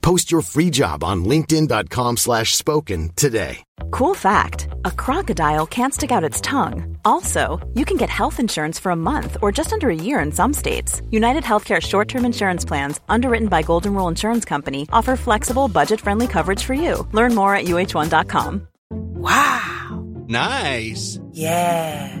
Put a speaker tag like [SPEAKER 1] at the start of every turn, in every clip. [SPEAKER 1] Post your free job on linkedin.com/spoken slash spoken today.
[SPEAKER 2] Cool fact a crocodile can't stick out its tongue. Also, you can get health insurance for a month or just under a year in some states. United Healthcare short term insurance plans, underwritten by Golden Rule Insurance Company, offer flexible, budget friendly coverage for you. Learn more at uh1.com.
[SPEAKER 3] Wow.
[SPEAKER 4] Nice.
[SPEAKER 3] Yeah.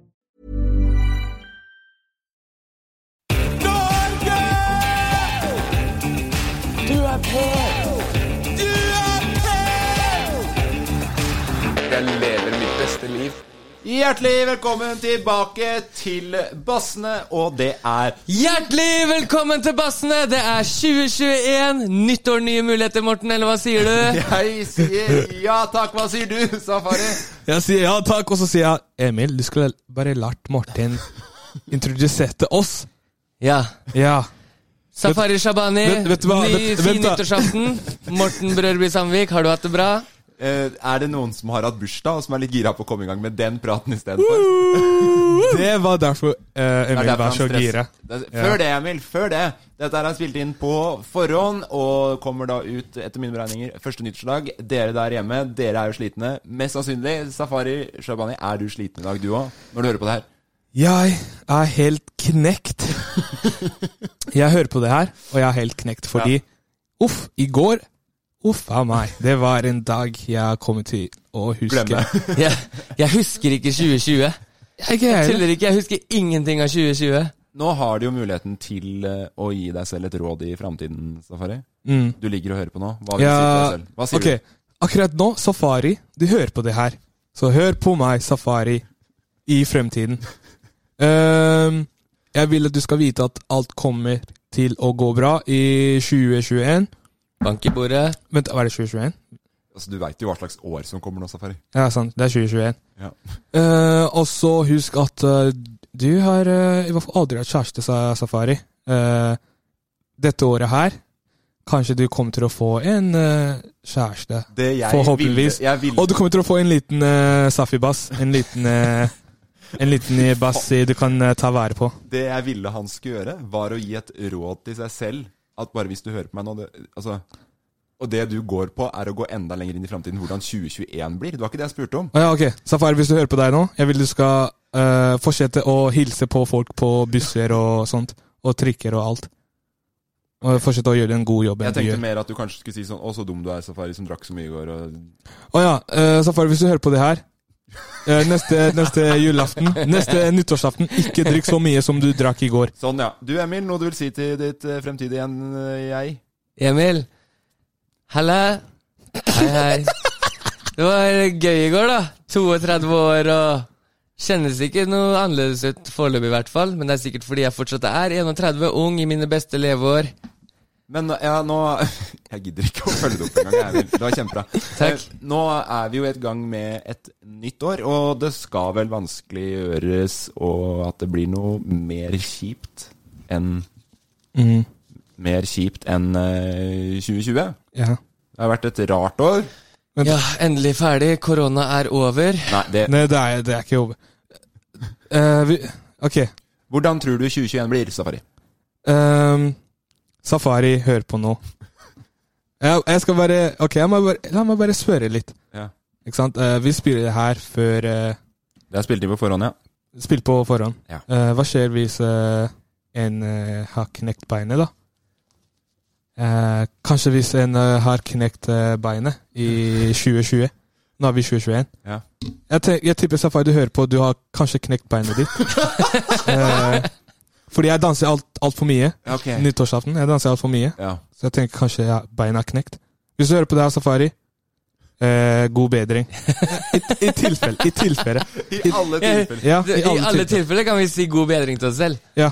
[SPEAKER 5] Norge!
[SPEAKER 3] Du er på!
[SPEAKER 5] Du er på!
[SPEAKER 6] Jeg lever mitt beste liv.
[SPEAKER 7] Hjertelig velkommen tilbake til Bassene, og det er
[SPEAKER 8] Hjertelig velkommen til Bassene! Det er 2021. Nytt år, nye muligheter, Morten, eller hva sier du?
[SPEAKER 7] Jeg sier ja takk, hva sier du, Safari?
[SPEAKER 8] Jeg sier ja takk, og så sier jeg Emil, du skulle bare lært Martin introduserte oss.
[SPEAKER 7] Ja.
[SPEAKER 8] Ja. Safari Shabani,
[SPEAKER 7] Vent- vent- vent hva-
[SPEAKER 8] ny
[SPEAKER 7] vent-
[SPEAKER 8] fin
[SPEAKER 7] vent da.
[SPEAKER 8] nyttårsaften. Morten Brørby Sandvik, har du hatt det bra?
[SPEAKER 7] Eh, Er det noen som har hatt bursdag, og som er litt gira på å komme i gang med den praten istedenfor?
[SPEAKER 8] Det var derfor eh,
[SPEAKER 7] Det er
[SPEAKER 8] Emil
[SPEAKER 7] derfor
[SPEAKER 8] var
[SPEAKER 7] han
[SPEAKER 8] så
[SPEAKER 7] stress-
[SPEAKER 8] gira.
[SPEAKER 7] Det er- Før det, Emil. Før det. Dette er han spilt inn på forhånd, og kommer da ut etter mine beregninger første nyttårsdag. Dere der hjemme, dere er jo slitne. Mest sannsynlig, Safari Shabani, er du sliten i dag, du òg? Når du hører på det her.
[SPEAKER 8] Jeg er helt knekt. Jeg hører på det her, og jeg er helt knekt fordi Uff, i går Uff a meg. Det var en dag jeg kommer til å huske.
[SPEAKER 7] Glemme.
[SPEAKER 8] Jeg,
[SPEAKER 9] Jeg husker ikke 2020.
[SPEAKER 8] jeg greier det.
[SPEAKER 9] Tuller ikke, jeg husker ingenting av 2020.
[SPEAKER 7] Nå har du jo muligheten til eh, å gi deg selv et råd i framtiden, Safari.
[SPEAKER 8] Mm.
[SPEAKER 7] Du ligger og hører på nå. Hva vil du si til deg
[SPEAKER 8] Ja,
[SPEAKER 7] selv? Hva sier
[SPEAKER 8] ok. Akkurat nå, Safari, du hører på det her. Så hør på meg, Safari, i fremtiden. Ehm, jeg vil at du skal vite at alt kommer til å gå bra i 2021.
[SPEAKER 9] Bank i bordet.
[SPEAKER 8] Vent, var det 2021?
[SPEAKER 7] du? Altså, du veit jo hva slags år som kommer nå, Safari.
[SPEAKER 8] Ja, sant. Det er 2021.
[SPEAKER 7] Ja.
[SPEAKER 8] Eh, og så husk at eh, du har eh, i hvert fall aldri hatt kjæreste, sa Safari. Eh, dette året her, kanskje du kommer til å få en eh, kjæreste.
[SPEAKER 7] Det jeg
[SPEAKER 8] Forhåpentligvis.
[SPEAKER 7] ville- jeg ville-
[SPEAKER 8] Og du kommer til å få en liten eh, Safi-bass. En liten eh, En liten eh, bass eh, du kan eh, ta vare på.
[SPEAKER 7] Det jeg ville han skulle gjøre, var å gi et råd til seg selv. At bare hvis du hører på meg nå det, altså, Og det du går på, er å gå enda lenger inn i framtiden. Hvordan 2021 blir. Det var ikke det jeg spurte om.
[SPEAKER 8] Å ja, ok. Safari, hvis du hører på deg nå, jeg vil du skal eh, fortsette å hilse på folk på busser og sånt. Og trikker og alt. Og fortsette å gjøre en god jobb. enn
[SPEAKER 7] Jeg
[SPEAKER 8] du gjør.
[SPEAKER 7] tenkte mer at du kanskje skulle si sånn Å, så dum du er, Safari, som drakk så mye i går. Og...
[SPEAKER 8] Å ja, eh, Safari, hvis du hører på det her eh, Neste, neste julaften, neste nyttårsaften, ikke drikk så mye som du drakk i går.
[SPEAKER 7] Sånn, ja. Du, Emil, noe du vil si til ditt eh, fremtidige igjen, jeg?
[SPEAKER 9] Emil. Halla. Hei, hei. Det var gøy i går, da. 32 år og Kjennes ikke noe annerledes ut foreløpig, i hvert fall. Men det er sikkert fordi jeg fortsatt er 31, ung i mine beste leveår.
[SPEAKER 7] Men ja, nå Jeg gidder ikke å følge det opp engang. jeg, Emil. Det var kjempebra.
[SPEAKER 9] Takk.
[SPEAKER 7] Eh, Nå er vi jo i et gang med et nytt år, og det skal vel vanskelig gjøres og at det blir noe mer kjipt enn
[SPEAKER 8] Mhm.
[SPEAKER 7] Mer kjipt enn eh, 2020.
[SPEAKER 8] Ja.
[SPEAKER 7] Det har vært et rart år.
[SPEAKER 9] Ja, endelig ferdig. Korona er over.
[SPEAKER 7] Nei, det
[SPEAKER 8] Nei, det er, det er ikke over. Eh, vi, ok.
[SPEAKER 7] Hvordan tror du 2021 blir, Safari?
[SPEAKER 8] Ehm, Safari, hør på nå. Jeg, jeg skal bare Ok, jeg må bare, la meg bare spørre litt.
[SPEAKER 7] Ja.
[SPEAKER 8] Ikke sant? Eh, vi spiller det her før eh,
[SPEAKER 7] Det er spilt inn på forhånd, ja.
[SPEAKER 8] Spill på forhånd.
[SPEAKER 7] Ja.
[SPEAKER 8] Eh, hva skjer hvis eh, en eh, har knekt beinet, da? Eh, kanskje hvis en eh, har knekt eh, beinet i 2020. Nå er vi 2021.
[SPEAKER 7] Ja.
[SPEAKER 8] Jeg, tenk, jeg tipper Safari du hører på, du har kanskje knekt beinet ditt. eh, fordi jeg danser altfor alt for mye.
[SPEAKER 7] Ok.
[SPEAKER 8] Nyttårsaften. Jeg danser altfor mye.
[SPEAKER 7] Ja.
[SPEAKER 8] Så jeg tenker kanskje ja, beina er knekt. Hvis du hører på det her, Safari, eh, god bedring. I, i tilfelle. I tilfelle.
[SPEAKER 7] I alle tilfeller.
[SPEAKER 8] Ja,
[SPEAKER 9] I alle tilfeller kan vi si god bedring til oss selv.
[SPEAKER 8] Ja.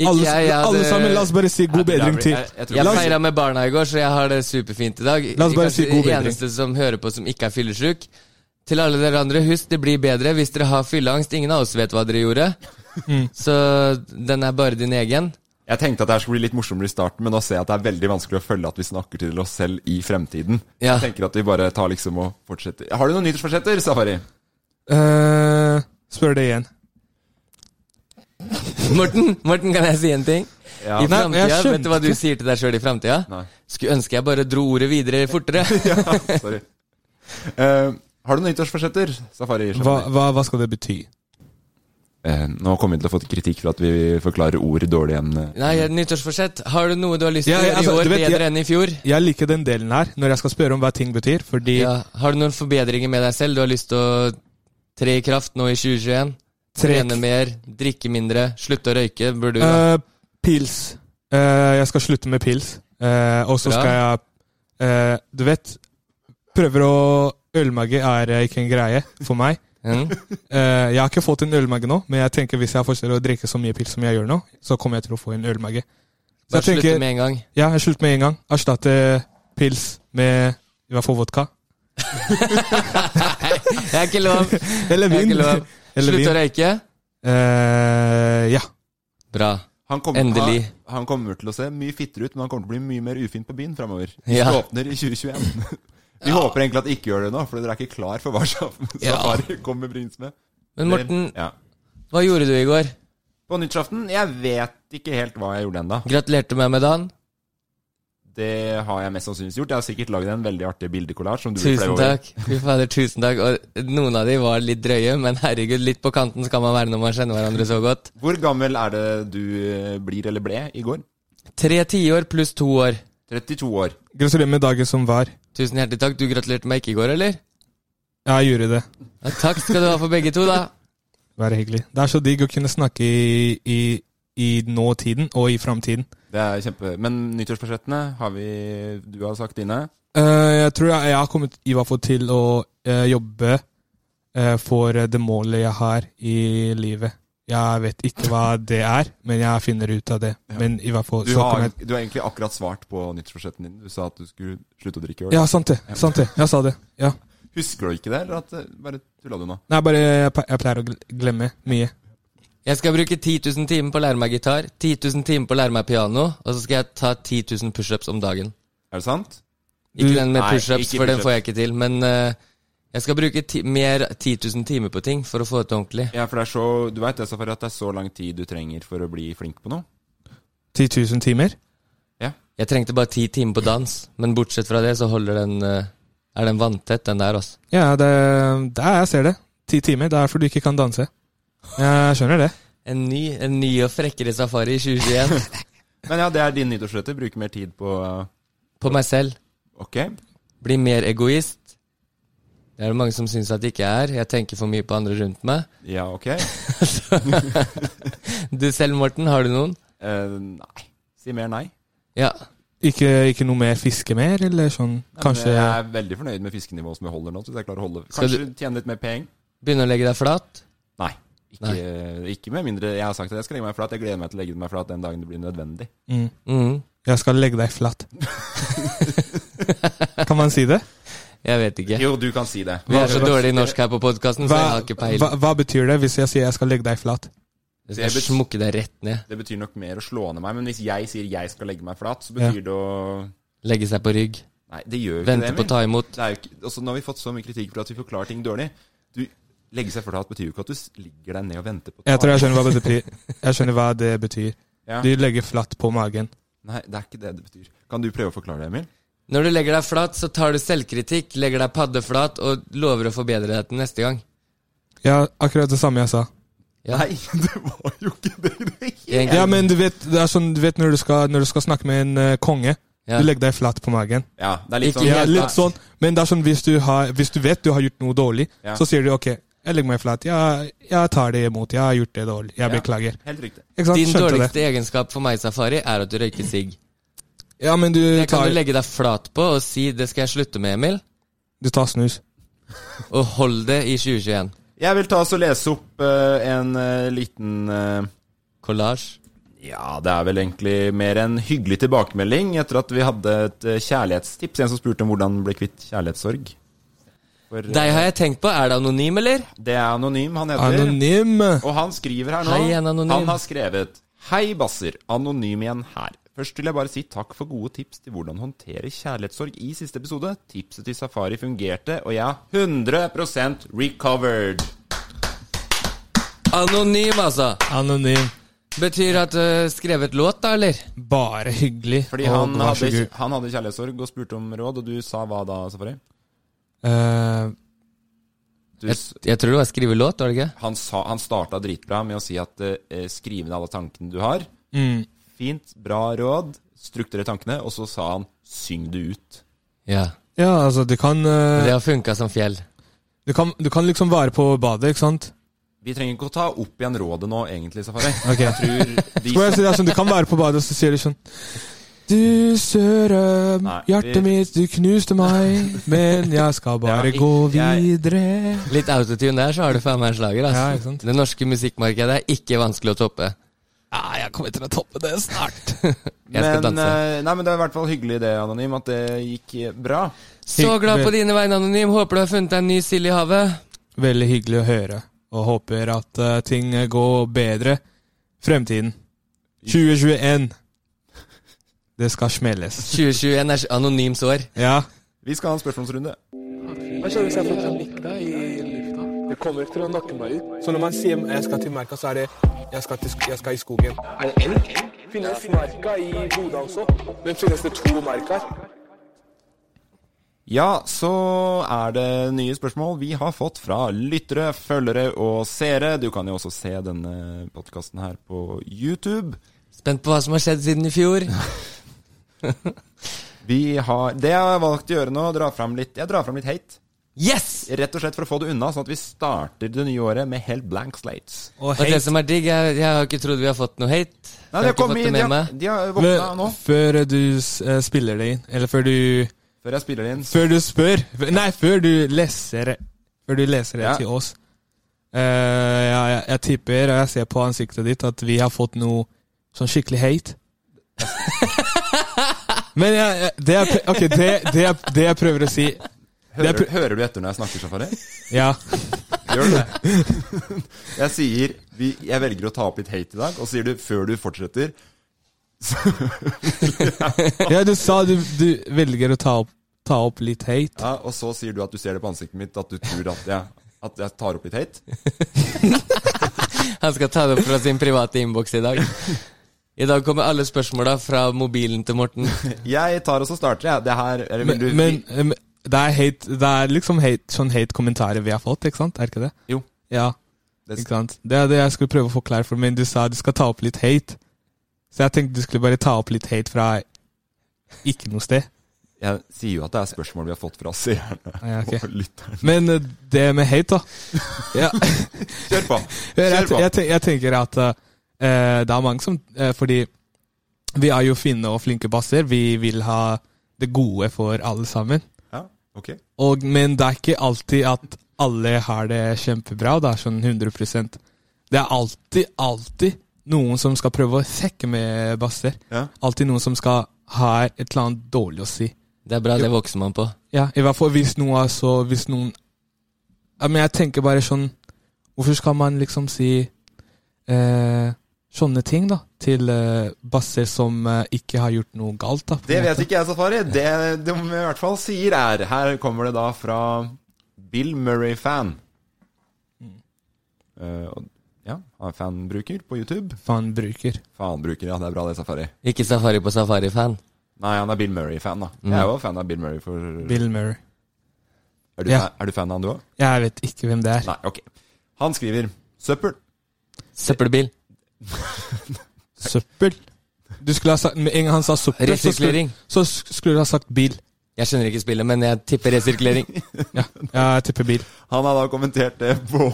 [SPEAKER 9] Ikke
[SPEAKER 8] Alle,
[SPEAKER 9] jeg, jeg
[SPEAKER 8] alle
[SPEAKER 9] hadde-
[SPEAKER 8] sammen, la oss bare si god
[SPEAKER 7] Ja, det er
[SPEAKER 8] bedring
[SPEAKER 7] bra.
[SPEAKER 8] til.
[SPEAKER 7] Jeg- jeg tror-
[SPEAKER 9] Jeg
[SPEAKER 8] La oss-
[SPEAKER 9] feira med barna i går, så jeg har det superfint i dag.
[SPEAKER 8] La oss bare
[SPEAKER 9] Kanskje
[SPEAKER 8] si god bedring.
[SPEAKER 9] eneste som hører på som ikke er fyllesyk. Til alle dere andre, husk det blir bedre hvis dere har fylleangst. Ingen av oss vet hva dere gjorde.
[SPEAKER 8] Mm.
[SPEAKER 9] Så den er bare din egen.
[SPEAKER 7] Jeg tenkte at det her skulle bli litt morsommere i starten, men nå ser jeg at det er veldig vanskelig å følge at vi snakker til oss selv i fremtiden.
[SPEAKER 9] Ja.
[SPEAKER 7] Jeg tenker at vi bare tar liksom og fortsetter. Har du noen nyttårsforsetter, Safari?
[SPEAKER 8] Eh, spør det igjen.
[SPEAKER 9] Morten, Morten, kan jeg si en ting? I
[SPEAKER 8] Nei, men jeg
[SPEAKER 9] fremtida,
[SPEAKER 8] skjønte
[SPEAKER 9] Vet du hva du sier til deg sjøl i framtida?
[SPEAKER 7] Nei.
[SPEAKER 9] Skulle ønske jeg bare dro ordet videre fortere.
[SPEAKER 7] Sorry. Eh, har du noen nyttårsforsetter, Safari?
[SPEAKER 8] Hva, hva, hva skal det bety?
[SPEAKER 7] Eh, nå kommer vi til å få kritikk for at vi forklarer ord dårlig eh, igjen.
[SPEAKER 9] Nei, nyttårsforsett. Har du noe du har lyst til
[SPEAKER 8] Ja,
[SPEAKER 9] å
[SPEAKER 8] ja,
[SPEAKER 9] gjøre i
[SPEAKER 8] altså,
[SPEAKER 9] år
[SPEAKER 8] du vet,
[SPEAKER 9] bedre
[SPEAKER 8] jeg-
[SPEAKER 9] enn i fjor?
[SPEAKER 8] Jeg liker den delen her, når jeg skal spørre om hva ting betyr, fordi
[SPEAKER 9] Ja. Har du noen forbedringer med deg selv du har lyst til å tre i kraft nå i 2021?
[SPEAKER 8] Tre-
[SPEAKER 9] Trene mer, drikke mindre, slutte å røyke, burde du da.
[SPEAKER 8] Eh, Pils. Eh, jeg skal slutte med pils, Eh, og så
[SPEAKER 9] Bra.
[SPEAKER 8] skal jeg eh, Du vet, prøver å Ølmage er eh, ikke en greie for meg.
[SPEAKER 9] Mm.
[SPEAKER 8] Eh, jeg har ikke fått en ølmage nå, men jeg tenker hvis jeg fortsetter å drikke så mye pils som jeg gjør nå, så kommer jeg til å få en ølmage.
[SPEAKER 9] Bare
[SPEAKER 8] Så jeg tenker,
[SPEAKER 9] slutte med en gang.
[SPEAKER 8] Ja, jeg slutter med en gang. Erstatte pils med i hvert fall vodka.
[SPEAKER 9] Jeg er ikke lov. Jeg er
[SPEAKER 8] Eller vin.
[SPEAKER 9] ikke lov.
[SPEAKER 8] Eller
[SPEAKER 9] Slutt å
[SPEAKER 8] vin.
[SPEAKER 9] røyke.
[SPEAKER 8] Eh, ja.
[SPEAKER 9] Bra.
[SPEAKER 7] Han kommer,
[SPEAKER 9] Endelig.
[SPEAKER 7] Han, han kommer til å se mye fittere ut, men han kommer til å bli mye mer ufin på byen framover. Hvis
[SPEAKER 9] Ja.
[SPEAKER 7] det åpner i 2021. Vi håper egentlig at de ikke gjør det nå, for dere er ikke klar for hva som
[SPEAKER 9] Ja.
[SPEAKER 7] Safari kommer brins med.
[SPEAKER 9] Men Morten,
[SPEAKER 7] ja.
[SPEAKER 9] hva gjorde du i går?
[SPEAKER 7] På nyttårsaften? Jeg vet ikke helt hva jeg gjorde ennå.
[SPEAKER 9] Gratulerte meg med dagen.
[SPEAKER 7] Det har jeg mest sannsynligvis gjort. Jeg har sikkert lagd en veldig artig bildekollasj. som du vil
[SPEAKER 9] Tusen
[SPEAKER 7] flaue over.
[SPEAKER 9] takk. Fy fader, tusen takk. Og noen av de var litt drøye, men herregud, litt på kanten skal man være når man kjenner hverandre så godt.
[SPEAKER 7] Hvor gammel er det du eh, blir eller ble i går?
[SPEAKER 9] Tre tiår pluss to år.
[SPEAKER 7] 32 år.
[SPEAKER 8] Gratulerer med dagen som var.
[SPEAKER 9] Tusen hjertelig takk. Du gratulerte meg ikke i går, eller?
[SPEAKER 8] Ja, jeg gjorde det.
[SPEAKER 9] Ja, takk skal du ha for begge to, da.
[SPEAKER 8] Være hyggelig. Det er så digg å kunne snakke i, i, i nåtiden og i framtiden.
[SPEAKER 7] Det er kjempe... Men nyttårsforsettene har vi Du har sagt dine.
[SPEAKER 8] Eh, jeg tror jeg, jeg har kommet i hvert fall til å eh, jobbe eh, for eh, det målet jeg har i livet. Jeg vet ikke hva det er, men jeg finner ut av det. Men i hvert fall
[SPEAKER 7] Du
[SPEAKER 8] så
[SPEAKER 7] har,
[SPEAKER 8] kommer jeg
[SPEAKER 7] du har egentlig akkurat svart på nyttårsforsetten din. Du sa at du skulle slutte å drikke øl.
[SPEAKER 8] Ja, sant det. Sant det. Jeg sa det. Ja.
[SPEAKER 7] Husker du ikke det, eller at eh, bare tulla du nå?
[SPEAKER 8] Nei, bare jeg ple- jeg pleier å gle- glemme mye.
[SPEAKER 9] Jeg skal bruke 10 000 timer på å lære meg gitar, 10 000 timer på å lære meg piano, og så skal jeg ta 10 000 pushups om dagen.
[SPEAKER 7] Er det sant?
[SPEAKER 9] Ikke den med
[SPEAKER 7] Nei,
[SPEAKER 9] pushups,
[SPEAKER 7] ikke
[SPEAKER 9] for den
[SPEAKER 7] pushups.
[SPEAKER 9] får jeg ikke til, men eh, jeg skal bruke ti mer 10 000 timer på ting for å få det til ordentlig.
[SPEAKER 7] Ja, for det er så Du veit det, Safari, at det er så lang tid du trenger for å bli flink på noe?
[SPEAKER 8] 10 000 timer.
[SPEAKER 9] Jeg trengte bare 10 timer på dans, men bortsett fra det så holder den eh, Er den vanntett, den der, altså.
[SPEAKER 8] Ja, det, det er, jeg ser det. Ti timer. Det er derfor du ikke kan danse. Jeg skjønner det.
[SPEAKER 9] En ny, en ny og frekkere safari i 2021.
[SPEAKER 7] Men ja, det er din nyttårsforsetter. Bruke mer tid på eh,
[SPEAKER 9] på meg selv.
[SPEAKER 7] Ok.
[SPEAKER 9] Bli mer egoist. Det er det mange som syns at jeg ikke er. Jeg tenker for mye på andre rundt meg.
[SPEAKER 7] Ja, ok.
[SPEAKER 9] Du selv, Morten, har du noen?
[SPEAKER 7] Eh, nei. Si mer nei.
[SPEAKER 9] Ja.
[SPEAKER 8] Ikke, ikke noe mer fiske mer, eller sånn? Kanskje
[SPEAKER 7] Men Jeg er veldig fornøyd med fiskenivået som jeg holder nå. Så jeg klarer å holde
[SPEAKER 9] Skal
[SPEAKER 7] Kanskje tjene litt mer penger.
[SPEAKER 9] Begynne å legge deg flat?
[SPEAKER 7] Nei. Ikke, ikke med mindre jeg har sagt at jeg skal legge meg flat. Jeg gleder meg til å legge meg flat den dagen det blir nødvendig.
[SPEAKER 8] mm,
[SPEAKER 9] Mm.
[SPEAKER 8] Jeg skal legge deg flatt. kan man si det?
[SPEAKER 9] Jeg vet ikke.
[SPEAKER 7] Jo, du kan si det.
[SPEAKER 9] Vi er så dårlige i norsk her på podkasten, så
[SPEAKER 8] Hva,
[SPEAKER 9] jeg har ikke
[SPEAKER 8] hva,
[SPEAKER 9] peiling.
[SPEAKER 8] hva betyr det hvis jeg sier jeg skal legge deg flatt?
[SPEAKER 9] Jeg skal smukke deg rett ned.
[SPEAKER 7] Det betyr nok mer å slå ned meg, men hvis jeg sier jeg skal legge meg flat, så betyr det å
[SPEAKER 9] Legge seg på rygg.
[SPEAKER 7] Nei, det gjør jo ikke det.
[SPEAKER 9] Vente på å ta imot.
[SPEAKER 7] det er jo ikke, også nå har vi fått så mye kritikk for at vi forklarer ting dårlig. Du, Legge seg flat betyr jo ikke at du s- ligger deg ned og venter på
[SPEAKER 8] Jeg tror jeg skjønner hva det betyr. Jeg skjønner hva det betyr.
[SPEAKER 7] Ja.
[SPEAKER 8] Du legger flatt på magen.
[SPEAKER 7] Nei, det er ikke det det betyr. Kan du prøve å forklare det, Emil?
[SPEAKER 9] Når du legger deg flat, så tar du selvkritikk, legger deg paddeflat og lover å forbedre deg til neste gang.
[SPEAKER 8] Ja, akkurat det samme jeg sa.
[SPEAKER 9] Ja.
[SPEAKER 7] Nei, det var jo ikke det. det.
[SPEAKER 9] Egentlig.
[SPEAKER 8] Ja, men du vet, det er sånn, du vet når, du skal, når du skal snakke med en eh, konge, Du legger deg flat på magen.
[SPEAKER 7] Ja, det er litt sånn-
[SPEAKER 8] ja,
[SPEAKER 7] helt
[SPEAKER 8] litt
[SPEAKER 7] sånn.
[SPEAKER 8] sånn. Men det er sånn, hvis du, har, hvis du vet du har gjort noe dårlig,
[SPEAKER 7] Ja.
[SPEAKER 8] så sier du ok, jeg legger meg flat. Jeg, jeg tar det imot. Jeg har gjort det dårlig. Jeg beklager.
[SPEAKER 7] Helt riktig.
[SPEAKER 8] Ikke sant?
[SPEAKER 9] Din
[SPEAKER 8] Skjønte
[SPEAKER 9] dårligste egenskap for meg, Safari, er at du røyker sigg.
[SPEAKER 8] Ja, men du
[SPEAKER 9] Det kan
[SPEAKER 8] tar,
[SPEAKER 9] du legge deg flat på og si 'det skal jeg slutte med, Emil',
[SPEAKER 8] du tar snus.
[SPEAKER 9] og hold det i 2021.
[SPEAKER 7] Jeg vil ta oss og lese opp eh, en eh, liten
[SPEAKER 9] Collage?
[SPEAKER 7] Ja, det er vel egentlig mer en hyggelig tilbakemelding etter at vi hadde et eh, kjærlighetstips. En som spurte om hvordan bli kvitt kjærlighetssorg. For, eh,
[SPEAKER 9] Deg har jeg tenkt på. Er det anonym, eller?
[SPEAKER 7] Det er anonym han heter.
[SPEAKER 8] Anonym.
[SPEAKER 7] Og han skriver her nå.
[SPEAKER 9] Hei, en anonym.
[SPEAKER 7] Han har skrevet Hei, Basser. Anonym igjen her. Først vil jeg bare si takk for gode tips til hvordan håndtere kjærlighetssorg i siste episode. Tipset til Safari fungerte, og jeg er 100 recovered.
[SPEAKER 9] Anonym, altså.
[SPEAKER 8] Anonym.
[SPEAKER 9] Betyr at uh, skrevet låt, da, eller?
[SPEAKER 8] Bare hyggelig.
[SPEAKER 7] Fordi
[SPEAKER 8] og
[SPEAKER 7] han
[SPEAKER 8] vær så
[SPEAKER 7] hadde,
[SPEAKER 8] god.
[SPEAKER 7] han hadde kjærlighetssorg og spurte om råd, og du sa hva da, Safari?
[SPEAKER 8] Eh,
[SPEAKER 7] Du,
[SPEAKER 9] Jeg, jeg tror det var skrive låt, var det ikke?
[SPEAKER 7] han, sa, han starta dritbra med å si at eh, skriv ned alle tankene du har.
[SPEAKER 8] mm.
[SPEAKER 7] Fint, bra råd. Strukturer tankene. Og så sa han syng det ut.
[SPEAKER 9] Ja.
[SPEAKER 8] Ja, altså, du kan, eh,
[SPEAKER 9] Det har funka som fjell.
[SPEAKER 8] du kan Du kan liksom være på badet, ikke sant?
[SPEAKER 7] Vi trenger ikke å ta opp igjen rådet nå, egentlig, Safari.
[SPEAKER 8] Ok.
[SPEAKER 7] Jeg tror de
[SPEAKER 8] Skal jeg si det er sånn, Du kan være på badet, og så sier du sånn Du søren,
[SPEAKER 7] Nei, vi-
[SPEAKER 8] hjertet mitt, du knuste meg, men jeg skal
[SPEAKER 7] Ja,
[SPEAKER 8] bare gå
[SPEAKER 7] jeg-
[SPEAKER 8] videre.
[SPEAKER 9] Litt autotune der, så har du faen meg en slager. Altså.
[SPEAKER 8] Ja, ikke sant?
[SPEAKER 9] Det norske musikkmarkedet er ikke vanskelig å toppe.
[SPEAKER 8] Ja, jeg kommer til å toppe det snart.
[SPEAKER 9] Jeg skal
[SPEAKER 7] men,
[SPEAKER 9] danse.
[SPEAKER 7] eh, nei, men det er i hvert fall hyggelig det, Anonym, at det gikk eh, bra.
[SPEAKER 9] Så glad på dine vegne, Anonym. Håper du har funnet deg en ny sild i havet.
[SPEAKER 8] Veldig hyggelig å høre, og håper at eh, ting går bedre fremtiden. 2021. Det skal smelles.
[SPEAKER 9] 2021 er anonyms år.
[SPEAKER 8] Ja.
[SPEAKER 7] Vi skal ha en spørsmålsrunde.
[SPEAKER 4] Hva skjer hvis jeg får panikk i lufta? Det kommer ikke til å nakke meg ut. Så når man sier jeg skal til merka, så er det jeg skal, til, jeg skal i skogen. Er det elg? Finnes merka i Bodø også? Men finnes det to merker?
[SPEAKER 7] Ja, så er det nye spørsmål vi har fått fra lyttere, følgere og seere. Du kan jo også se denne podkasten her på YouTube.
[SPEAKER 9] Spent på hva som har skjedd siden i fjor.
[SPEAKER 7] Vi har, det jeg har valgt å gjøre nå, dra frem litt, jeg drar fram litt hate.
[SPEAKER 9] Yes!
[SPEAKER 7] Rett og slett for å få det unna, sånn at vi starter det nye året med helt blank slates.
[SPEAKER 8] Og
[SPEAKER 9] Og det som er digg, jeg, jeg har ikke trodd vi har fått noe hate. Jeg har
[SPEAKER 7] Nei, de har,
[SPEAKER 9] ikke fått
[SPEAKER 7] kommet,
[SPEAKER 9] det
[SPEAKER 7] de
[SPEAKER 9] med
[SPEAKER 7] har,
[SPEAKER 9] meg.
[SPEAKER 7] de har våkna nå,
[SPEAKER 8] Men før du eh, spiller det inn, eller før du
[SPEAKER 7] før jeg spiller inn.
[SPEAKER 8] Før du spør Nei, før du leser Før du leser det
[SPEAKER 7] Ja.
[SPEAKER 8] til oss Eh, jeg, jeg, jeg tipper, og jeg ser på ansiktet ditt At vi har fått noe sånn skikkelig hate Men jeg, jeg- det, jeg, ok, det, det, jeg, det jeg prøver å si Det
[SPEAKER 7] Hører,
[SPEAKER 8] er pr-
[SPEAKER 7] hører du etter når jeg snakker, Safari?
[SPEAKER 8] Ja,
[SPEAKER 7] Gjør du det? Jeg sier vi, Jeg velger å ta opp litt hate i dag, og så sier du før du fortsetter
[SPEAKER 8] ja du sa du, du velger å ta opp, ta opp litt hate
[SPEAKER 7] ja, Og så sier du at du ser det på ansiktet mitt, at du tror at jeg, at jeg tar opp litt hate.
[SPEAKER 9] Han skal ta det opp fra sin private innboks i dag. I dag kommer alle spørsmåla fra mobilen til Morten.
[SPEAKER 7] Jeg tar og så starter jeg. Det her eller vil
[SPEAKER 8] Men,
[SPEAKER 7] du,
[SPEAKER 8] men eh, men det, er hate, det er liksom hate, sånn hate kommentarer vi har fått, ikke sant? Er det ikke det?
[SPEAKER 7] Jo.
[SPEAKER 8] Ja
[SPEAKER 7] Det-
[SPEAKER 8] Ikke sant? Det er det jeg skulle prøve å forklare for, men du sa du skal ta opp litt hate. Så jeg tenkte du skulle bare ta opp litt hate fra ikke noe sted.
[SPEAKER 7] Jeg sier jo at det er spørsmål vi har fått fra seerne
[SPEAKER 8] Ja, ok.
[SPEAKER 7] og lytterne.
[SPEAKER 8] Men eh, det med hate, da. Ja.
[SPEAKER 7] Kjør på!
[SPEAKER 8] Jeg,
[SPEAKER 7] Kjør
[SPEAKER 8] jeg,
[SPEAKER 7] på.
[SPEAKER 8] jeg, tenk- jeg tenker at eh, det er mange som eh, Fordi vi er jo fine og flinke basser. Vi vil ha det gode for alle sammen.
[SPEAKER 7] Ja, ok.
[SPEAKER 8] Og, men det er ikke alltid at alle har det kjempebra. Det er sånn 100 Det er alltid, alltid noen som skal prøve å sekke med basser.
[SPEAKER 7] Ja.
[SPEAKER 8] Alltid noen som skal ha et eller annet dårlig å si.
[SPEAKER 9] Det er bra, det vokser man på.
[SPEAKER 8] Ja, I hvert fall hvis noe er så Hvis noen ja, Men jeg tenker bare sånn Hvorfor skal man liksom si eh, sånne ting, da? Til eh, basser som eh, ikke har gjort noe galt, da. på en
[SPEAKER 7] Det
[SPEAKER 8] måte.
[SPEAKER 7] vet ikke jeg, Safari. Det de i hvert fall sier, er Her kommer det da fra Bill Murray-fan.
[SPEAKER 8] Mm.
[SPEAKER 7] Eh, og- ja, han er fanbruker på YouTube.
[SPEAKER 8] Faen bruker.
[SPEAKER 7] Fanbruker, ja. Det er bra, det, Safari.
[SPEAKER 9] Ikke safari på safari-fan.
[SPEAKER 7] Nei, han er Bill Murray-fan, da. Jeg er jo fan av Bill Murray. For...
[SPEAKER 8] Mm. Bill Murray.
[SPEAKER 7] Er, du
[SPEAKER 8] Ja.
[SPEAKER 7] fan, er du fan av han, du òg?
[SPEAKER 8] Jeg vet ikke hvem det er.
[SPEAKER 7] Nei, ok. Han skriver Søppel.
[SPEAKER 9] Søppelbil.
[SPEAKER 8] Søppel. Du skulle ha sagt, Med en gang han sa suppe, så skulle,
[SPEAKER 9] Resirkulering.
[SPEAKER 8] så sk- skulle du ha sagt bil.
[SPEAKER 9] Jeg skjønner ikke spillet, men jeg tipper resirkulering.
[SPEAKER 8] ja, jeg tipper bil.
[SPEAKER 7] Han har da kommentert det på,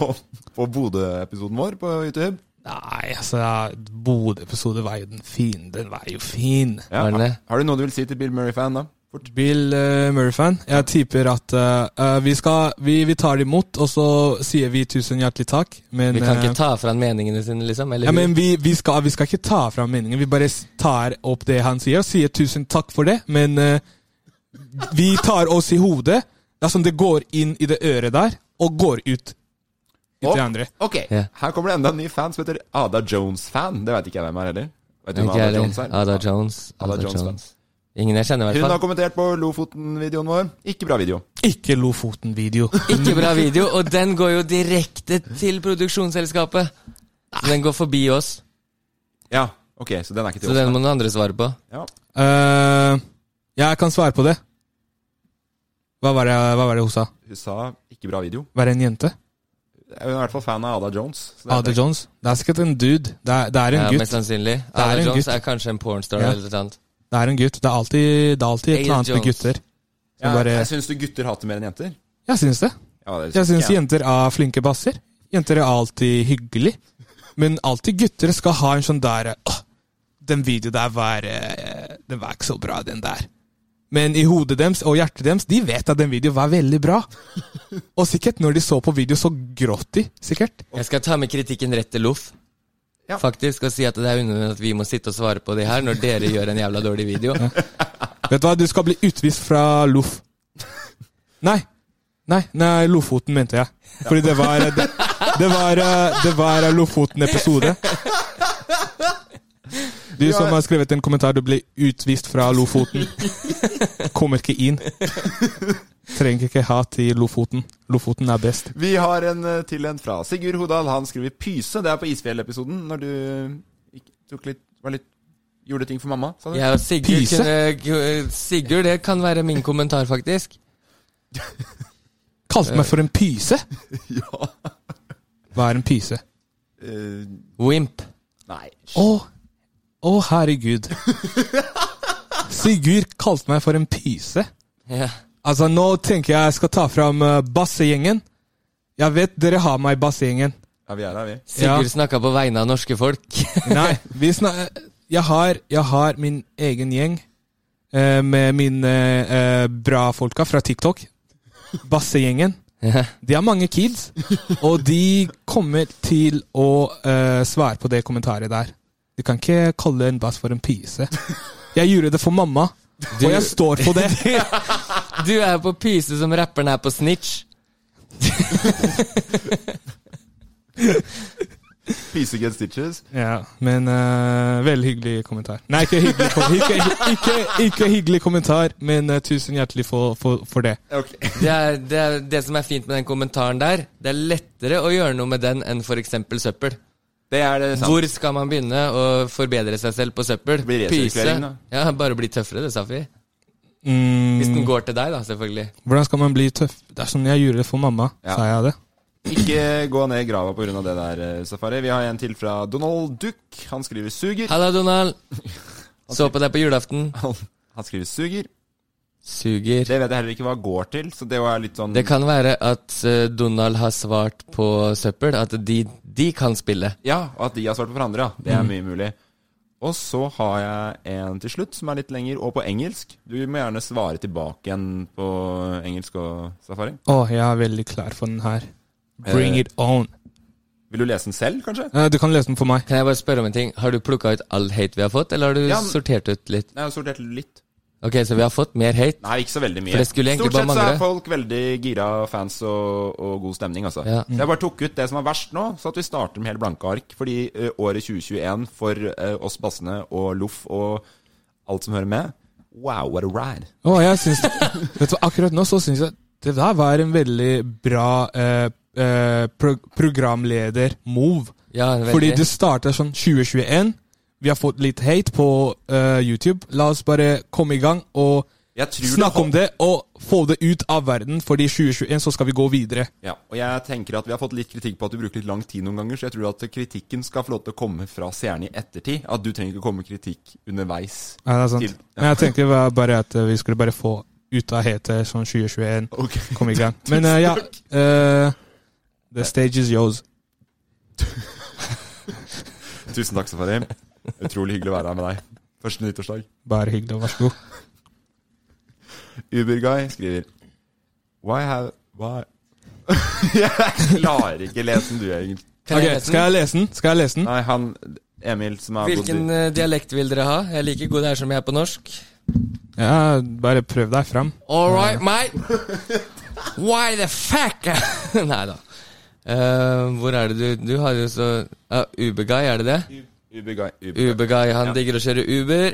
[SPEAKER 7] på Bodø-episoden vår på YouTube.
[SPEAKER 8] Nei, altså Bodø-episode var jo den fine. Den var jo fin.
[SPEAKER 7] Ja. Har du noe du vil si til Bill Murray-fan, da?
[SPEAKER 8] Bill eh, Murray-fan. Jeg tipper at eh, eh, vi, skal, vi, vi tar det imot, og så sier vi tusen hjertelig takk. Men,
[SPEAKER 9] Vi kan
[SPEAKER 8] eh,
[SPEAKER 9] ikke ta fra han meningene sine, liksom. Eller
[SPEAKER 8] ja, men vi, vi, skal, vi skal ikke ta fra ham meningen. Vi bare s- tar opp det han sier, og sier tusen takk for det. Men eh, vi tar oss i hodet. Det er som det går inn i det øret der, og går ut i
[SPEAKER 7] Og-
[SPEAKER 8] det andre.
[SPEAKER 7] Ok,
[SPEAKER 9] Ja.
[SPEAKER 7] her kommer det enda en ny fan som heter Ada Jones-fan. Det veit ikke jeg hvem er heller. Vet du hvem
[SPEAKER 9] Ikke
[SPEAKER 7] Ada
[SPEAKER 9] jeg
[SPEAKER 7] Jones
[SPEAKER 9] heller.
[SPEAKER 7] er?
[SPEAKER 9] Ada Jones.
[SPEAKER 7] Ada
[SPEAKER 9] Ada
[SPEAKER 7] Jones,
[SPEAKER 9] Jones. Ingen jeg kjenner, i
[SPEAKER 7] Hun har
[SPEAKER 9] hvert fall.
[SPEAKER 7] kommentert på Lofoten-videoen vår. Ikke bra video.
[SPEAKER 8] Ikke Lofoten-video.
[SPEAKER 9] Ikke bra video, og den går jo direkte til produksjonsselskapet. Så den går forbi oss.
[SPEAKER 7] Ja, ok, så den er ikke til
[SPEAKER 9] Så
[SPEAKER 7] oss.
[SPEAKER 9] den må noen andre svare på.
[SPEAKER 7] Ja.
[SPEAKER 8] Eh, jeg kan svare på det. Hva var det, hva var det hun sa?
[SPEAKER 7] Hun sa ikke bra video.
[SPEAKER 8] Være en jente?
[SPEAKER 7] Hun er i hvert fall fan av Ada Jones. så det er
[SPEAKER 8] Ada
[SPEAKER 7] greit.
[SPEAKER 8] Jones? Det er sikkert en dude. Det er, det er en
[SPEAKER 9] Ja,
[SPEAKER 8] gutt.
[SPEAKER 9] Mest sannsynlig.
[SPEAKER 8] Det er
[SPEAKER 9] Ada
[SPEAKER 8] en
[SPEAKER 9] Jones
[SPEAKER 8] gutt.
[SPEAKER 9] er kanskje en pornstar
[SPEAKER 8] Ja.
[SPEAKER 9] eller noe sånt.
[SPEAKER 8] Det er en gutt. Det er alltid, det er alltid et eller
[SPEAKER 9] Ada
[SPEAKER 8] annet med
[SPEAKER 9] Jones.
[SPEAKER 8] gutter.
[SPEAKER 7] Ja,
[SPEAKER 8] Som bare,
[SPEAKER 7] Jeg syns du gutter hater mer enn jenter.
[SPEAKER 8] jeg syns det.
[SPEAKER 7] sånn, Ja, det
[SPEAKER 8] Jeg syns
[SPEAKER 7] ikke jeg.
[SPEAKER 8] jenter er flinke basser. Jenter er alltid hyggelig. Men alltid gutter skal ha en sånn der «Åh, Den videoen der var eh, Den var ikke så bra, den der. Men i hodet deres og hjertet deres, de vet at den videoen var veldig bra. Og sikkert når de så på video, så gråt de. Sikkert.
[SPEAKER 9] Jeg skal ta med kritikken rett til Loff.
[SPEAKER 7] Ja.
[SPEAKER 9] Faktisk, og si at det er unødvendig at vi må sitte og svare på det her når dere gjør en jævla dårlig video.
[SPEAKER 8] Vet du hva, du skal bli utvist fra Lof. Nei. Nei, nei, Lofoten mente jeg. Fordi det var Det, det var, eh, det var eh, Lofoten-episode. Du
[SPEAKER 7] Ja.
[SPEAKER 8] som har skrevet en kommentar, du ble utvist fra Lofoten. Kommer ikke inn. Trenger ikke hat i Lofoten. Lofoten er best.
[SPEAKER 7] Vi har en eh, til en fra Sigurd Hodal. Han skriver 'pyse'. Det er på Isfjell-episoden, når du gikk- tok litt, var litt Gjorde ting for mamma, sa du?
[SPEAKER 9] Jeg og Sigurd,
[SPEAKER 8] Pyse?
[SPEAKER 9] kunne, Sigurd, det kan være min kommentar, faktisk.
[SPEAKER 8] Kalte meg for en pyse!
[SPEAKER 7] Ja.
[SPEAKER 8] Hva er en pyse?
[SPEAKER 7] Eh,
[SPEAKER 9] Wimp.
[SPEAKER 7] nei.
[SPEAKER 8] Å, å herregud. Sigurd kalte meg for en pyse.
[SPEAKER 9] Ja.
[SPEAKER 8] Altså, nå tenker jeg jeg skal ta fram eh, bassegjengen. Jeg vet dere har meg i bassegjengen.
[SPEAKER 7] Ja, vi er her, vi.
[SPEAKER 9] Sigurd
[SPEAKER 8] Ja.
[SPEAKER 9] snakka på vegne av norske folk.
[SPEAKER 8] Nei, vi snak- jeg, har, jeg har min egen gjeng eh, med mine eh, bra folka fra TikTok. Bassegjengen.
[SPEAKER 9] Ja.
[SPEAKER 8] De har mange kids, og de kommer til å eh, svare på det kommentaret der. Du kan ikke kalle en bass for en pyse. Jeg gjorde det for mamma, og jeg står for det.
[SPEAKER 9] Du er på pyse som rapperen er på snitch.
[SPEAKER 7] Pyse get stitches.
[SPEAKER 8] Ja, men eh, veldig hyggelig kommentar. Nei, ikke hyggelig, kom ikke, ikke, ikke hyggelig kommentar, men eh, tusen hjertelig for, for, for det.
[SPEAKER 7] Ok.
[SPEAKER 9] Det, er, det, er, det som er fint med den kommentaren der, det er lettere å gjøre noe med den enn f.eks. søppel.
[SPEAKER 7] Det er det sant.
[SPEAKER 9] Hvor skal man begynne å forbedre seg selv på søppel?
[SPEAKER 7] Det blir resirkulering, da.
[SPEAKER 9] Ja, bare bli tøffere, det, Safi. Hvis den
[SPEAKER 8] Mm,
[SPEAKER 9] går til deg, da, selvfølgelig.
[SPEAKER 8] hvordan skal man bli tøff? Det er sånn jeg gjorde det for mamma,
[SPEAKER 7] Ja.
[SPEAKER 8] sa jeg det.
[SPEAKER 7] Ikke gå ned i grava pga. det der, eh, Safari. Vi har en til fra Donald Duck. Han skriver 'suger'.
[SPEAKER 9] Halla, Donald. Så på deg på julaften.
[SPEAKER 7] Han, han skriver 'suger'.
[SPEAKER 9] Suger.
[SPEAKER 7] Det vet jeg heller ikke hva går til, så det var litt sånn
[SPEAKER 9] Det kan være at eh, Donald har svart på søppel, at de, de kan spille.
[SPEAKER 7] Ja, og at de har svart på hverandre, ja. Det er mye mulig. Og så har jeg en til slutt som er litt lenger, og på engelsk. Du må gjerne svare tilbake igjen på engelsk og safari.
[SPEAKER 8] Å, jeg er veldig klar for den her. Bring
[SPEAKER 7] Eh.
[SPEAKER 8] it on.
[SPEAKER 7] Vil du lese den selv, kanskje?
[SPEAKER 8] Eh, du kan lese den for meg.
[SPEAKER 9] Kan jeg bare spørre om en ting? Har du plukka ut all hate vi har fått, eller har du
[SPEAKER 7] Ja, men-
[SPEAKER 9] sortert ut litt?
[SPEAKER 7] Nei, jeg har sortert litt.
[SPEAKER 9] Ok, så vi har fått mer hate.
[SPEAKER 7] Nei, ikke så veldig mye.
[SPEAKER 9] For det skulle egentlig
[SPEAKER 7] Stort sett
[SPEAKER 9] bare
[SPEAKER 7] så er
[SPEAKER 9] mangle.
[SPEAKER 7] folk veldig gira fans og, og god stemning, altså.
[SPEAKER 9] Ja.
[SPEAKER 7] Så jeg bare tok ut det som var verst nå, så at vi starter med helt blanke ark. Fordi ø, året 2021 for ø, oss bassene og loff og alt som hører med Wow, what a ride.
[SPEAKER 8] Å, jeg syns Vet du hva, akkurat nå så syns jeg det der var en veldig bra eh, eh, pro programleder-move.
[SPEAKER 9] Ja,
[SPEAKER 8] Fordi
[SPEAKER 9] veldig.
[SPEAKER 8] det starter sånn 2021. Vi har fått litt hate på eh, YouTube. La oss bare komme i gang og
[SPEAKER 7] Jeg tror det
[SPEAKER 8] Snakk om
[SPEAKER 7] hol-
[SPEAKER 8] det, og få det ut av verden, fordi i 2021 så skal vi gå videre.
[SPEAKER 7] Ja, og jeg tenker at Vi har fått litt kritikk på at du bruker litt lang tid noen ganger, så jeg tror at kritikken skal få lov til å komme fra seerne i ettertid. At du trenger ikke komme med kritikk underveis.
[SPEAKER 8] Ja, det er sant.
[SPEAKER 7] til- Ja.
[SPEAKER 8] Men jeg tenkte det var bare at eh, vi skulle bare få ut av hete sånn 2021. Kom i gang. Men eh, ja eh, The stage is yours.
[SPEAKER 7] Tusen takk, Safari. Utrolig hyggelig å være her med deg. Første nyttårsdag.
[SPEAKER 8] Bare hyggelig, vær så god.
[SPEAKER 7] Uberguy skriver Why have Why Jeg klarer ikke lese den, du, Egil.
[SPEAKER 9] Kan jeg Ok, lese den? skal jeg
[SPEAKER 8] lese den? Skal jeg lese den?
[SPEAKER 7] Nei, han Emil som har
[SPEAKER 9] Hvilken
[SPEAKER 7] bodd i
[SPEAKER 9] eh, dialekt vil dere ha? Jeg er like god her som jeg er på norsk.
[SPEAKER 8] Ja, bare prøv deg fram.
[SPEAKER 9] All right, mate. Why the fuck? Nei da. Eh, hvor er det du Du har jo så uh, Uberguy, er det det?
[SPEAKER 7] Uberguy.
[SPEAKER 9] Uberguy, han digger å kjøre Uber.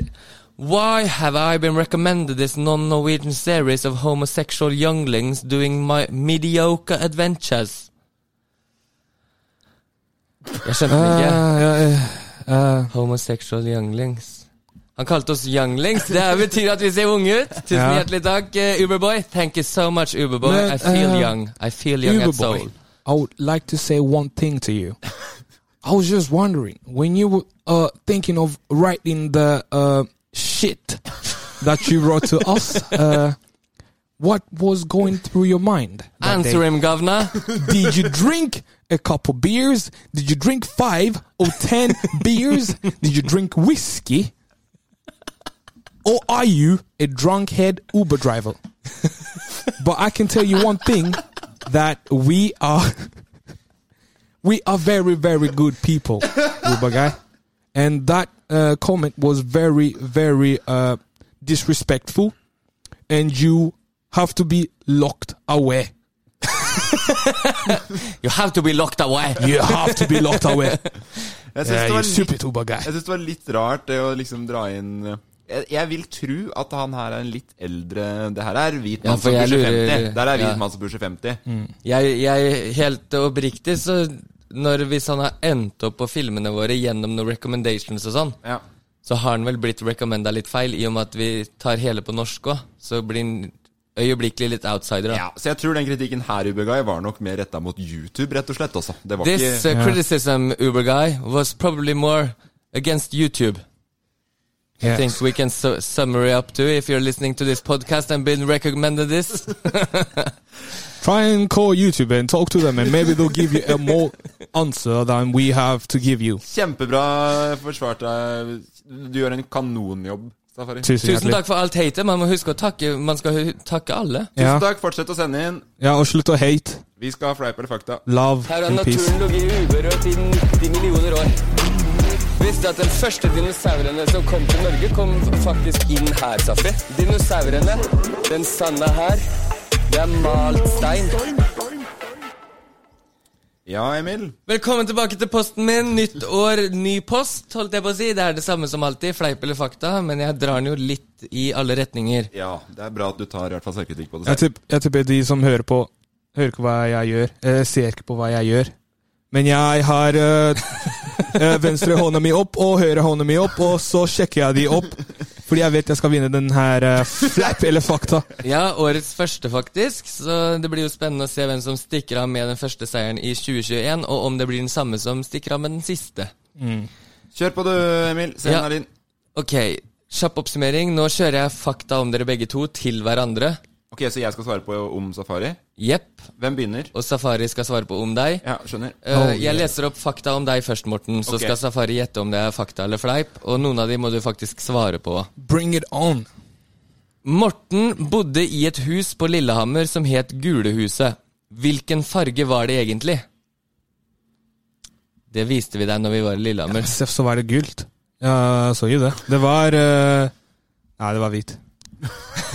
[SPEAKER 9] Why have I been recommended this non-Norwegian series of homosexual younglings doing my mediocre adventures? Jeg skjønte den ikke.
[SPEAKER 8] Ah,
[SPEAKER 9] Homosexual younglings. Han kalte oss younglings. Det her betyr at vi ser unge ut. Tusen
[SPEAKER 8] Ja.
[SPEAKER 9] hjertelig takk, eh, Uberboy. Thank you so much, Uberboy. I feel
[SPEAKER 8] uh,
[SPEAKER 9] young. I feel young
[SPEAKER 8] Uber
[SPEAKER 9] at
[SPEAKER 8] boy,
[SPEAKER 9] soul.
[SPEAKER 8] I would like to say one thing to you. I was just wondering when you were uh, thinking of writing the uh, shit that you wrote to us. Uh, what was going through your mind? that day?
[SPEAKER 9] Answer him, governor.
[SPEAKER 8] Did you drink a couple beers? Did you drink five or ten beers? Did you drink whiskey? Or are you a drunkhead Uber driver? but I can tell you one thing that we are we are very very good people, Uber guy. And that uh, comment was very very uh, disrespectful and you have to be locked away.
[SPEAKER 9] You have to be locked away.
[SPEAKER 8] You have to be locked away.
[SPEAKER 7] Jeg
[SPEAKER 8] Yeah,
[SPEAKER 7] syns det,
[SPEAKER 8] you
[SPEAKER 7] var
[SPEAKER 8] stupid
[SPEAKER 7] litt-
[SPEAKER 8] Uber guy.
[SPEAKER 7] jeg synes det var litt rart det å liksom dra inn eh, jeg, jeg vil tro at han her er en litt eldre Det her er hvit
[SPEAKER 9] Ja,
[SPEAKER 7] mann
[SPEAKER 9] for
[SPEAKER 7] som
[SPEAKER 9] jeg
[SPEAKER 7] pusher
[SPEAKER 9] lurer-
[SPEAKER 7] 50. Der er hvit
[SPEAKER 9] ja. Mm.
[SPEAKER 7] mann som pusher 50.
[SPEAKER 9] Jeg, jeg helt oppriktig, så når, hvis han har endt opp på filmene våre gjennom noen recommendations og sånn, så har han vel blitt recommenda litt feil, i og med at vi tar hele på norsk òg. Så blir han øyeblikkelig litt outsider. Da.
[SPEAKER 7] Ja, så jeg tror den kritikken her, Uberguy, var nok mer retta mot YouTube, rett og slett. Altså. Det var
[SPEAKER 9] This uh,
[SPEAKER 7] ikke
[SPEAKER 9] criticism, Uber guy, was probably more against YouTube. I
[SPEAKER 8] Yeah.
[SPEAKER 9] think we can su summary up to if you're listening to this podcast and been recommended this.
[SPEAKER 8] Try and call YouTube and talk to them, and maybe they'll give you a more answer than we have to give you.
[SPEAKER 7] Kjempebra forsvart deg. Du gjør en kanonjobb, Safari.
[SPEAKER 8] Tusen
[SPEAKER 9] Tusen
[SPEAKER 8] hjertelig.
[SPEAKER 9] takk for alt hatet. Man må huske å takke Man skal hu- takke alle.
[SPEAKER 8] Ja. Tusen
[SPEAKER 7] takk. Fortsett å sende inn.
[SPEAKER 8] Ja, og slutt å hate.
[SPEAKER 7] Vi skal ha fleip eller fakta.
[SPEAKER 8] Love and peace.
[SPEAKER 9] ligget uberørt i 90 millioner år. Visste at den første dinosaurene som kom til Norge, kom faktisk inn her, Safi. Dinosaurene, den sanda her, det er malt stein.
[SPEAKER 7] Ja, Emil.
[SPEAKER 9] Velkommen tilbake til posten min. Nytt år, ny post, holdt jeg på å si. Det er det samme som alltid, fleip eller fakta, men jeg drar den jo litt i alle retninger.
[SPEAKER 7] Ja, det er bra at du tar i hvert fall selvkritikk på det.
[SPEAKER 8] Jeg
[SPEAKER 7] selv.
[SPEAKER 8] tipp- jeg tipper de som hører på, hører ikke hva jeg gjør. Eh, ser ikke på hva jeg gjør. Men jeg har eh, eh, venstre hånda mi opp og høyre hånda mi opp, og så sjekker jeg de opp. Fordi jeg vet jeg skal vinne den her eh, fleip eller fakta.
[SPEAKER 9] Ja, årets første, faktisk, så det blir jo spennende å se hvem som stikker av med den første seieren i 2021, og om det blir den samme som stikker av med den siste.
[SPEAKER 7] Kjør på du, Emil. Send
[SPEAKER 9] Ja.
[SPEAKER 7] den her inn.
[SPEAKER 9] Ok, kjapp oppsummering. Nå kjører jeg fakta om dere begge to til hverandre.
[SPEAKER 7] Ok, Så jeg skal svare på om safari?
[SPEAKER 9] Jepp.
[SPEAKER 7] Hvem begynner?
[SPEAKER 9] Og Safari skal svare på om deg.
[SPEAKER 7] Ja, skjønner.
[SPEAKER 9] Eh, jeg leser opp fakta om deg først, Morten. Så
[SPEAKER 7] Oh, Ok.
[SPEAKER 9] skal Safari gjette om det er fakta eller fleip. Og noen av de må du faktisk svare på.
[SPEAKER 8] Bring it on.
[SPEAKER 9] Morten bodde i et hus på Lillehammer som het Gulehuset. Hvilken farge var det egentlig? Det viste vi deg når vi var i Lillehammer.
[SPEAKER 8] SF, så var det gult. Ja, jeg så jo det. Det var eh, Nei, det var hvit.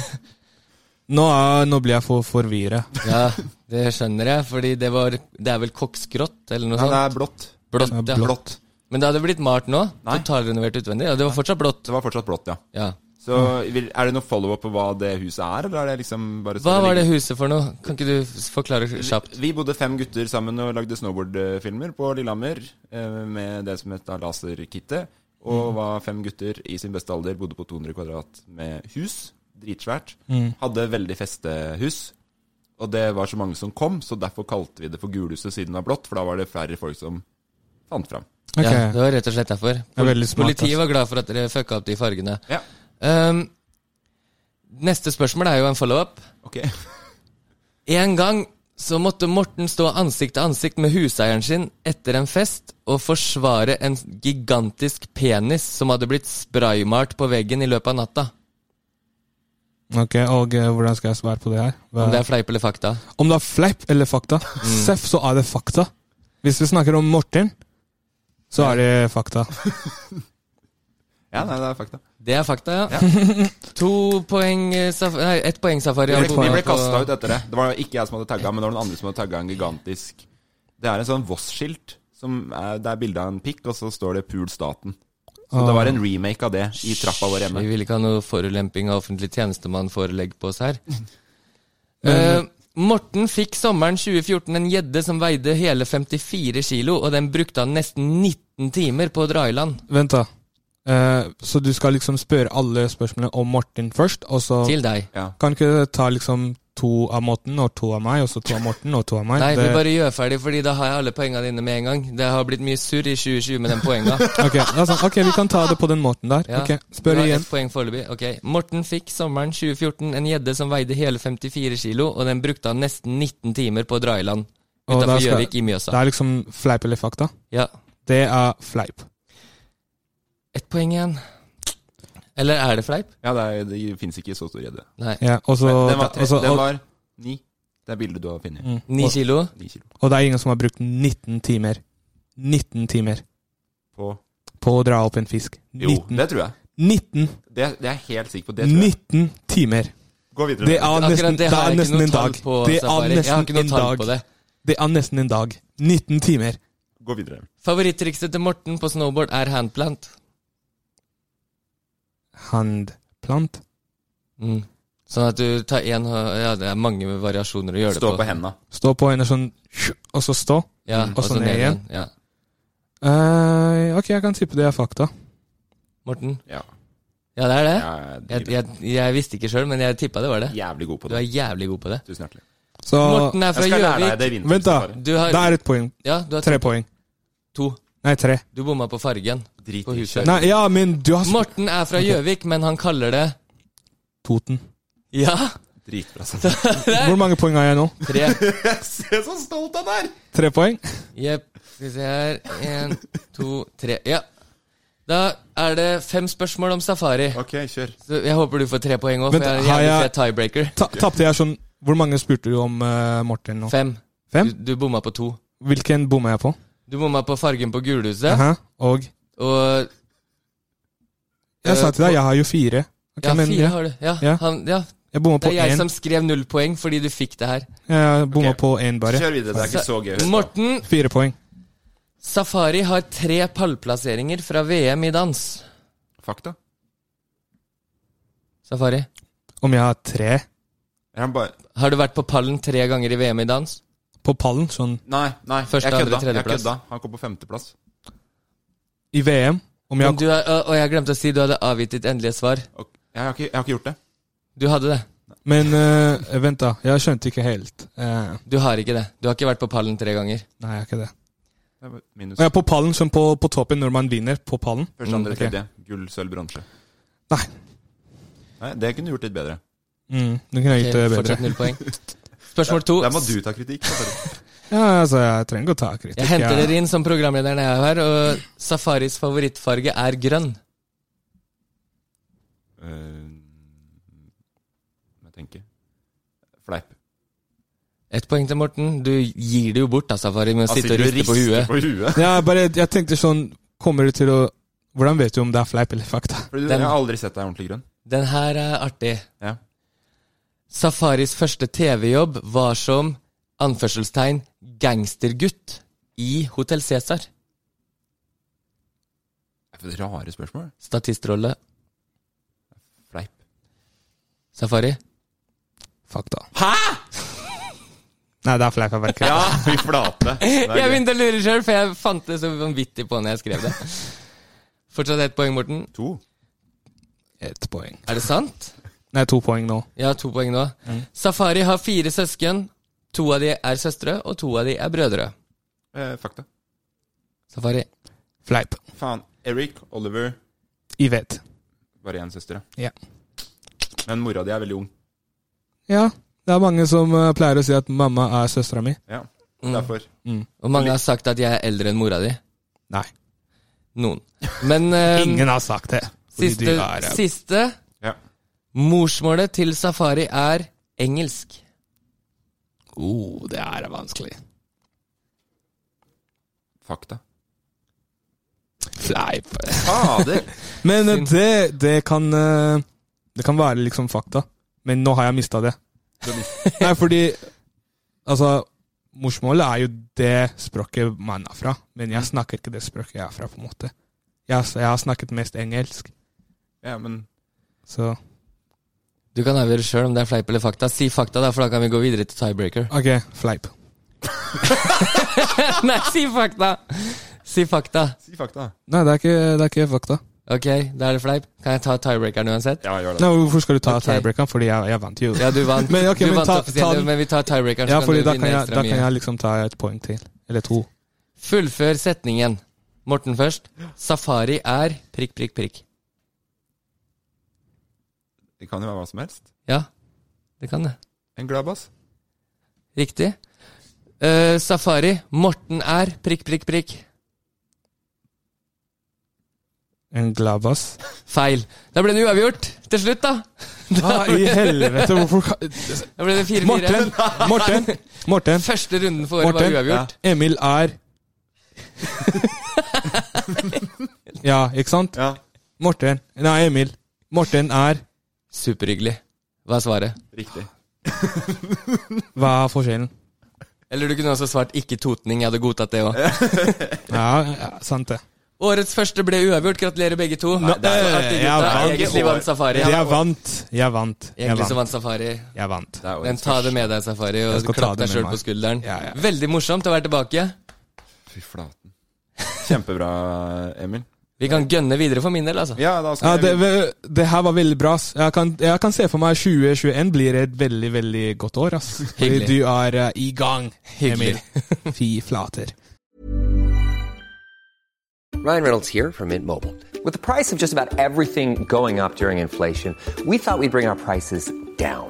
[SPEAKER 8] Nå, er, nå blir jeg for forvirra.
[SPEAKER 9] Ja, Det skjønner jeg, fordi det var Det er vel koksgrått, eller noe
[SPEAKER 7] Nei,
[SPEAKER 9] sånt?
[SPEAKER 7] det er blått.
[SPEAKER 9] Blått,
[SPEAKER 8] Det
[SPEAKER 9] ja.
[SPEAKER 8] er blått.
[SPEAKER 9] Men det hadde blitt malt nå?
[SPEAKER 7] Nei.
[SPEAKER 9] Totalrenovert utvendig? Ja, det var fortsatt blått.
[SPEAKER 7] Det var fortsatt blått, ja.
[SPEAKER 9] Ja.
[SPEAKER 7] Så vil- Er det noe follow-up på hva det huset er, eller er det liksom bare
[SPEAKER 9] Hva var det huset for noe? Kan ikke du f- forklare kjapt?
[SPEAKER 7] Vi bodde fem gutter sammen og lagde snowboardfilmer på Lillehammer eh, med det som het da Laserkittet. Og var fem gutter i sin beste alder, bodde på 200 kvadrat med hus. dritsvært.
[SPEAKER 8] Mm.
[SPEAKER 7] Hadde veldig festehus. Og det var så mange som kom, så derfor kalte vi det for Gulhuset siden det var blått, for da var det flere folk som fant fram.
[SPEAKER 8] Ok.
[SPEAKER 9] Ja, det var rett og slett derfor.
[SPEAKER 8] er veldig smart,
[SPEAKER 9] Politiet
[SPEAKER 8] altså.
[SPEAKER 9] var glad for at dere fucka opp de fargene.
[SPEAKER 7] Ja.
[SPEAKER 9] Ehm, neste spørsmål er jo en follow-up.
[SPEAKER 7] Ok.
[SPEAKER 9] En gang så måtte Morten stå ansikt til ansikt med huseieren sin etter en fest og forsvare en gigantisk penis som hadde blitt spraymalt på veggen i løpet av natta.
[SPEAKER 8] Ok, og eh, hvordan skal jeg svare på det Mm. her? Hva-
[SPEAKER 9] Om det er fleip eller fakta.
[SPEAKER 8] Om det er fleip eller fakta, seff, så er det fakta. Hvis vi snakker om Morten, så er det fakta.
[SPEAKER 7] Ja, nei, det er fakta.
[SPEAKER 9] Det er fakta, ja. To poeng eh, saf Nei, ett poeng safari.
[SPEAKER 7] Vi ble,
[SPEAKER 9] og to
[SPEAKER 7] vi ble
[SPEAKER 9] på-
[SPEAKER 7] kasta ut etter det. Det var ikke jeg som hadde tagga, men det var noen andre som hadde tagga en gigantisk Det er en sånn Voss-skilt. som er- Det er bilde av en pikk, og så står det 'Pul staten'. Så det var
[SPEAKER 9] Ah.
[SPEAKER 7] en remake av det i trappa vår
[SPEAKER 9] Vi
[SPEAKER 7] hjemme.
[SPEAKER 9] vil ikke ha noe forulemping av offentlig tjenestemann-forelegg på oss her.
[SPEAKER 8] Men-
[SPEAKER 9] Eh, Morten fikk sommeren 2014 en gjedde som veide hele 54 kilo, og den brukte han nesten 19 timer på å dra i land.
[SPEAKER 8] Vent, da. Eh, så du skal liksom spørre alle spørsmålene om Morten først, og så
[SPEAKER 9] Til deg.
[SPEAKER 7] Ja.
[SPEAKER 8] Kan ikke ta liksom to av Morten og to av meg, og så to av Morten og to av meg?
[SPEAKER 9] Nei, vi
[SPEAKER 8] Det-
[SPEAKER 9] bare gjør ferdig, fordi da har jeg alle poengene dine med en gang. Det har blitt mye surr i 2020 med den poenga.
[SPEAKER 8] Ok, det er sant. ok, vi kan ta det på den måten der.
[SPEAKER 9] Ja.
[SPEAKER 8] Ok,
[SPEAKER 9] Du
[SPEAKER 8] Spør
[SPEAKER 9] har
[SPEAKER 8] igjen.
[SPEAKER 9] ett poeng foreløpig. Ok. Morten fikk sommeren 2014 en gjedde som veide hele 54 kilo, og den brukte han nesten 19 timer på å dra i land.
[SPEAKER 8] Og da
[SPEAKER 9] Utafor
[SPEAKER 8] skal-
[SPEAKER 9] Gjøvik, i
[SPEAKER 8] Det
[SPEAKER 9] Mjøsa.
[SPEAKER 8] er liksom fleip eller fakta.
[SPEAKER 9] Ja.
[SPEAKER 8] Det er fleip.
[SPEAKER 9] Ett poeng igjen. Eller er det fleip?
[SPEAKER 7] Ja, det, er, det fins ikke i så stor gjedde.
[SPEAKER 9] Nei.
[SPEAKER 8] Ja, og så
[SPEAKER 7] Den var, tre,
[SPEAKER 8] og så-
[SPEAKER 7] den
[SPEAKER 8] og-
[SPEAKER 7] var ni. Det er bildet du har funnet.
[SPEAKER 8] mm,
[SPEAKER 9] altså, Ni
[SPEAKER 8] og-
[SPEAKER 9] kilo.
[SPEAKER 7] Ni kilo.
[SPEAKER 8] Og det er ingen som har brukt 19 timer. 19 timer
[SPEAKER 7] På
[SPEAKER 8] på å dra opp en fisk.
[SPEAKER 7] Jo,
[SPEAKER 8] 19.
[SPEAKER 7] det tror jeg.
[SPEAKER 8] 19,
[SPEAKER 7] Det, det er jeg helt sikker på. Det tror jeg.
[SPEAKER 8] 19 timer!
[SPEAKER 7] Gå videre.
[SPEAKER 8] Det er nesten,
[SPEAKER 9] Akkurat det
[SPEAKER 8] det
[SPEAKER 9] har
[SPEAKER 8] er
[SPEAKER 9] jeg ikke
[SPEAKER 8] nesten
[SPEAKER 9] noe
[SPEAKER 8] en
[SPEAKER 9] tall
[SPEAKER 8] dag.
[SPEAKER 9] på.
[SPEAKER 8] Det er
[SPEAKER 9] Safari. Jeg har ikke
[SPEAKER 8] nesten
[SPEAKER 9] noe
[SPEAKER 8] en
[SPEAKER 9] tall på
[SPEAKER 8] dag.
[SPEAKER 9] det.
[SPEAKER 8] Det er nesten en dag. 19 timer.
[SPEAKER 7] Gå videre.
[SPEAKER 9] Favorittrikset til Morten på snowboard er handplant.
[SPEAKER 8] Handplant.
[SPEAKER 9] Mm. Sånn at du tar én Ja, det er mange variasjoner å gjøre det på.
[SPEAKER 7] Stå på henda.
[SPEAKER 8] Stå på henne sånn, og så stå.
[SPEAKER 9] Ja,
[SPEAKER 8] og så ned igjen.
[SPEAKER 9] Ja.
[SPEAKER 8] Eh, ok, jeg kan tippe det er fakta.
[SPEAKER 9] Morten?
[SPEAKER 7] Ja.
[SPEAKER 9] Ja, det er det?
[SPEAKER 7] Jeg
[SPEAKER 9] Jeg,
[SPEAKER 7] er
[SPEAKER 9] jeg, jeg visste ikke sjøl, men jeg tippa det var det.
[SPEAKER 7] jævlig god på
[SPEAKER 9] Du er Altså,
[SPEAKER 7] det.
[SPEAKER 9] jævlig god på det.
[SPEAKER 7] Tusen hjertelig.
[SPEAKER 8] Så
[SPEAKER 9] Morten er
[SPEAKER 7] Jeg
[SPEAKER 9] fra
[SPEAKER 7] skal lære deg
[SPEAKER 9] Gjøvik.
[SPEAKER 7] det i vinter.
[SPEAKER 8] Vent, da.
[SPEAKER 7] Safari.
[SPEAKER 9] Du har
[SPEAKER 8] Det er et poeng.
[SPEAKER 9] Ja, du har
[SPEAKER 8] Tre poeng.
[SPEAKER 9] to.
[SPEAKER 8] Nei, tre.
[SPEAKER 9] Du bomma på fargen.
[SPEAKER 7] Drit
[SPEAKER 9] På
[SPEAKER 7] i
[SPEAKER 9] huset.
[SPEAKER 7] kjøret.
[SPEAKER 8] Nei, ja, men du har sp-
[SPEAKER 9] Morten er fra Gjøvik, men han kaller det
[SPEAKER 8] Toten.
[SPEAKER 9] Ja!
[SPEAKER 7] Dritbra. Safari.
[SPEAKER 8] Hvor mange poeng har jeg nå?
[SPEAKER 9] Tre.
[SPEAKER 7] Se så stolt han er!
[SPEAKER 8] Tre poeng?
[SPEAKER 9] Jepp. Skal vi se her Én, to, tre. Ja. Da er det fem spørsmål om safari.
[SPEAKER 7] Ok, kjør.
[SPEAKER 9] Så jeg håper du får tre poeng òg, for
[SPEAKER 8] Vent,
[SPEAKER 9] jeg er
[SPEAKER 8] har
[SPEAKER 9] jævlig
[SPEAKER 8] jeg-
[SPEAKER 9] fet tiebreaker.
[SPEAKER 8] Ta Tapte jeg sånn Hvor mange spurte du om eh, Morten nå?
[SPEAKER 9] Fem.
[SPEAKER 8] Fem?
[SPEAKER 9] Du, du bomma på to.
[SPEAKER 8] Hvilken bomma jeg på?
[SPEAKER 9] Du bomma på fargen på gulhuset,
[SPEAKER 8] Aha, og
[SPEAKER 9] og
[SPEAKER 8] Jeg sa til deg, jeg har jo fire. Ok,
[SPEAKER 9] Eh, Ja,
[SPEAKER 8] men
[SPEAKER 9] fire
[SPEAKER 8] jeg,
[SPEAKER 9] har du. Ja,
[SPEAKER 8] Ja.
[SPEAKER 9] Han, ja.
[SPEAKER 8] jeg bomma
[SPEAKER 9] Det
[SPEAKER 8] på
[SPEAKER 9] er jeg
[SPEAKER 8] én.
[SPEAKER 9] som skrev null poeng fordi du fikk det her.
[SPEAKER 8] Jeg bomma
[SPEAKER 7] Ok.
[SPEAKER 8] på én, bare.
[SPEAKER 7] Kjør videre, det er ikke så gøy. å høre på.
[SPEAKER 9] Morten,
[SPEAKER 8] Fire poeng.
[SPEAKER 9] Safari har tre pallplasseringer fra VM i dans.
[SPEAKER 7] Fakta?
[SPEAKER 9] Safari,
[SPEAKER 8] Om jeg har tre
[SPEAKER 7] Er han bare
[SPEAKER 9] har du vært på pallen tre ganger i VM i dans?
[SPEAKER 8] på pallen, sånn
[SPEAKER 7] Nei, nei,
[SPEAKER 9] Første,
[SPEAKER 7] jeg
[SPEAKER 9] andre,
[SPEAKER 7] kødda. Jeg
[SPEAKER 9] tredjeplass.
[SPEAKER 7] kødda. Han kom på femteplass.
[SPEAKER 8] i VM Om jeg
[SPEAKER 9] Men du er, og, og jeg glemte å si du hadde avgitt ditt endelige svar.
[SPEAKER 7] Og jeg, har ikke, jeg har ikke gjort det.
[SPEAKER 9] Du hadde det.
[SPEAKER 8] Men eh, vent, da. Jeg skjønte ikke helt. Eh,
[SPEAKER 9] Du har ikke det. Du har ikke vært på pallen tre ganger.
[SPEAKER 8] nei, jeg har ikke det.
[SPEAKER 7] det var minus
[SPEAKER 8] Og jeg er på pallen, som på, på toppen når man vinner. På pallen. Mm,
[SPEAKER 7] første, andre,
[SPEAKER 9] Mm,
[SPEAKER 8] ok.
[SPEAKER 7] tredje. Gull, sølv, bronse.
[SPEAKER 8] Nei.
[SPEAKER 7] Nei, Det kunne du gjort litt bedre.
[SPEAKER 8] Mm, det kunne jeg
[SPEAKER 9] Ok,
[SPEAKER 8] gjort eh, bedre.
[SPEAKER 9] Fortsatt null poeng. Spørsmål to.
[SPEAKER 7] Der må du ta kritikk. Safari.
[SPEAKER 8] Ja, altså, jeg trenger ikke å ta kritikk.
[SPEAKER 9] Jeg henter
[SPEAKER 8] jeg-
[SPEAKER 9] dere inn som programleder når jeg er her, og Safaris favorittfarge er grønn.
[SPEAKER 7] Eh, jeg tenker Fleip.
[SPEAKER 9] Ett poeng til Morten. Du gir det jo bort, da, Safari, med å
[SPEAKER 7] Altså,
[SPEAKER 9] sitte og riste på huet.
[SPEAKER 7] på huet.
[SPEAKER 8] Ja, bare, jeg tenkte sånn Kommer du til å Hvordan vet du om det er fleip eller fakta?
[SPEAKER 7] Fordi du,
[SPEAKER 9] Den-
[SPEAKER 7] jeg har aldri sett deg ordentlig grønn.
[SPEAKER 9] Den her er artig.
[SPEAKER 7] Ja.
[SPEAKER 9] Safaris første TV-jobb var som anførselstegn 'gangstergutt' i Hotell Cæsar.
[SPEAKER 7] Det er for Rare spørsmål.
[SPEAKER 9] Statistrolle.
[SPEAKER 7] Fleip.
[SPEAKER 9] Safari.
[SPEAKER 8] Fakta. Hæ?! Nei, det er fleip. Jeg bare kødder.
[SPEAKER 7] Ja, fy flate. Det
[SPEAKER 9] Jeg
[SPEAKER 7] er gøy.
[SPEAKER 9] begynte å lure sjøl, for jeg fant det så vanvittig på når jeg skrev det. Fortsatt ett poeng, Morten.
[SPEAKER 7] To.
[SPEAKER 8] Ett poeng.
[SPEAKER 9] Er det sant?
[SPEAKER 8] Nei, to poeng nå.
[SPEAKER 9] Jeg har to poeng nå.
[SPEAKER 8] Mm.
[SPEAKER 9] Safari har fire søsken. To av de er søstre, og to av de er brødre.
[SPEAKER 7] Eh, fakta.
[SPEAKER 9] Safari.
[SPEAKER 8] Fleip.
[SPEAKER 7] Faen. Eric, Oliver
[SPEAKER 8] Yvette.
[SPEAKER 7] Bare én søster,
[SPEAKER 8] Ja.
[SPEAKER 7] Men mora di er veldig ung.
[SPEAKER 8] Ja, det er mange som eh, pleier å si at mamma er søstera mi.
[SPEAKER 7] Ja,
[SPEAKER 9] Mm.
[SPEAKER 7] derfor.
[SPEAKER 8] Mm.
[SPEAKER 9] Og mange har sagt at jeg er eldre enn mora di.
[SPEAKER 8] Nei.
[SPEAKER 9] Noen. Men eh,
[SPEAKER 8] Ingen har sagt det. Fordi
[SPEAKER 9] siste,
[SPEAKER 8] du er, eh,
[SPEAKER 9] siste
[SPEAKER 7] Ja.
[SPEAKER 9] Morsmålet til Safari er engelsk.
[SPEAKER 8] Oh, det er vanskelig.
[SPEAKER 7] Fakta.
[SPEAKER 8] Fleip.
[SPEAKER 7] Fader!
[SPEAKER 8] Men eh, det, det kan eh, Det kan være liksom fakta. Men nå har jeg mista det.
[SPEAKER 7] Du har mist-
[SPEAKER 8] Nei, fordi Altså, morsmålet er jo det språket man er fra. Men
[SPEAKER 9] Mm.
[SPEAKER 8] jeg snakker ikke det språket jeg er fra, på en måte. Jeg, jeg har snakket mest engelsk,
[SPEAKER 7] ja, men
[SPEAKER 8] så
[SPEAKER 9] Du kan avgjøre sjøl om det er fleip eller fakta. Si fakta, da, for da kan vi gå videre til tiebreaker.
[SPEAKER 8] OK, fleip.
[SPEAKER 9] Nei, si fakta! Si fakta.
[SPEAKER 7] si fakta.
[SPEAKER 8] Nei, det er ikke, det er ikke fakta.
[SPEAKER 9] Ok, da er det fleip. Kan jeg ta tiebreakeren uansett?
[SPEAKER 7] Ja, gjør det.
[SPEAKER 8] Nei, Hvorfor skal du ta
[SPEAKER 9] Ok.
[SPEAKER 8] tiebreakeren? Fordi jeg, jeg vant jo.
[SPEAKER 9] Ja, du vant.
[SPEAKER 8] Men, ok,
[SPEAKER 9] du
[SPEAKER 8] men
[SPEAKER 9] vant
[SPEAKER 8] ta-
[SPEAKER 9] offisielt,
[SPEAKER 8] ta den-
[SPEAKER 9] men vi tar tiebreakeren,
[SPEAKER 8] Ja,
[SPEAKER 9] så kan
[SPEAKER 8] fordi
[SPEAKER 9] du
[SPEAKER 8] da kan,
[SPEAKER 9] vinne
[SPEAKER 8] jeg,
[SPEAKER 9] ekstra
[SPEAKER 8] da kan
[SPEAKER 9] mye.
[SPEAKER 8] jeg liksom ta et poeng til. Eller to.
[SPEAKER 9] Fullfør setningen. Morten først. Safari er prikk, prikk, prikk.
[SPEAKER 7] Det kan jo være hva som helst.
[SPEAKER 9] Ja, det kan det.
[SPEAKER 7] En gladbass.
[SPEAKER 9] Riktig. Eh, safari. Morten er prikk, prikk, prikk.
[SPEAKER 8] En gladbass.
[SPEAKER 9] Feil. Da ble det uavgjort til slutt, da.
[SPEAKER 8] Hva Ah, i helvete, hvorfor kan-
[SPEAKER 9] Da ble det 4-4.
[SPEAKER 8] Morten! Morten! Morten!
[SPEAKER 9] Første runden for året var
[SPEAKER 8] Morten.
[SPEAKER 9] uavgjort.
[SPEAKER 8] Emil er Ja, ikke sant?
[SPEAKER 7] Ja,
[SPEAKER 8] Morten. Nei, Emil. Morten er
[SPEAKER 9] Superhyggelig. Hva er svaret?
[SPEAKER 7] riktig.
[SPEAKER 8] Hva er forskjellen?
[SPEAKER 9] Eller du kunne også svart ikke totning. Jeg hadde godtatt det òg.
[SPEAKER 8] Ja, ja, sant det.
[SPEAKER 9] Årets første ble uavgjort. Gratulerer, begge to.
[SPEAKER 8] Nå-
[SPEAKER 9] det er,
[SPEAKER 8] eh,
[SPEAKER 9] gutta,
[SPEAKER 8] jeg vant.
[SPEAKER 9] egentlig vant Safari.
[SPEAKER 8] Jeg vant. Jeg vant. Jeg
[SPEAKER 9] Egentlig så
[SPEAKER 8] vant.
[SPEAKER 9] vant Safari.
[SPEAKER 8] Jeg vant.
[SPEAKER 7] Det er
[SPEAKER 9] Men
[SPEAKER 7] årets
[SPEAKER 9] ta det med deg, Safari,
[SPEAKER 8] Jeg
[SPEAKER 9] og
[SPEAKER 8] skal ta
[SPEAKER 9] klapp
[SPEAKER 8] det
[SPEAKER 9] deg
[SPEAKER 8] med
[SPEAKER 9] sjøl på
[SPEAKER 8] meg.
[SPEAKER 9] skulderen.
[SPEAKER 8] Ja, ja.
[SPEAKER 9] Veldig morsomt å være tilbake.
[SPEAKER 7] Fy flaten. Kjempebra, Emil.
[SPEAKER 9] Vi kan gønne videre for min del, altså.
[SPEAKER 7] Ja, da
[SPEAKER 8] Ja,
[SPEAKER 7] skal
[SPEAKER 8] det,
[SPEAKER 7] Emil
[SPEAKER 8] det her var veldig bra. ass. Jeg kan, jeg kan se for meg 2021 blir et veldig veldig godt år. ass. Fordi
[SPEAKER 9] Hyggelig.
[SPEAKER 8] du er eh, i gang,
[SPEAKER 9] Hyggelig.
[SPEAKER 8] Emil. Fy flater.
[SPEAKER 10] Ryan Reynolds here from Mint Mobile. With the price of just about everything going up during inflation, we thought we'd bring our prices down.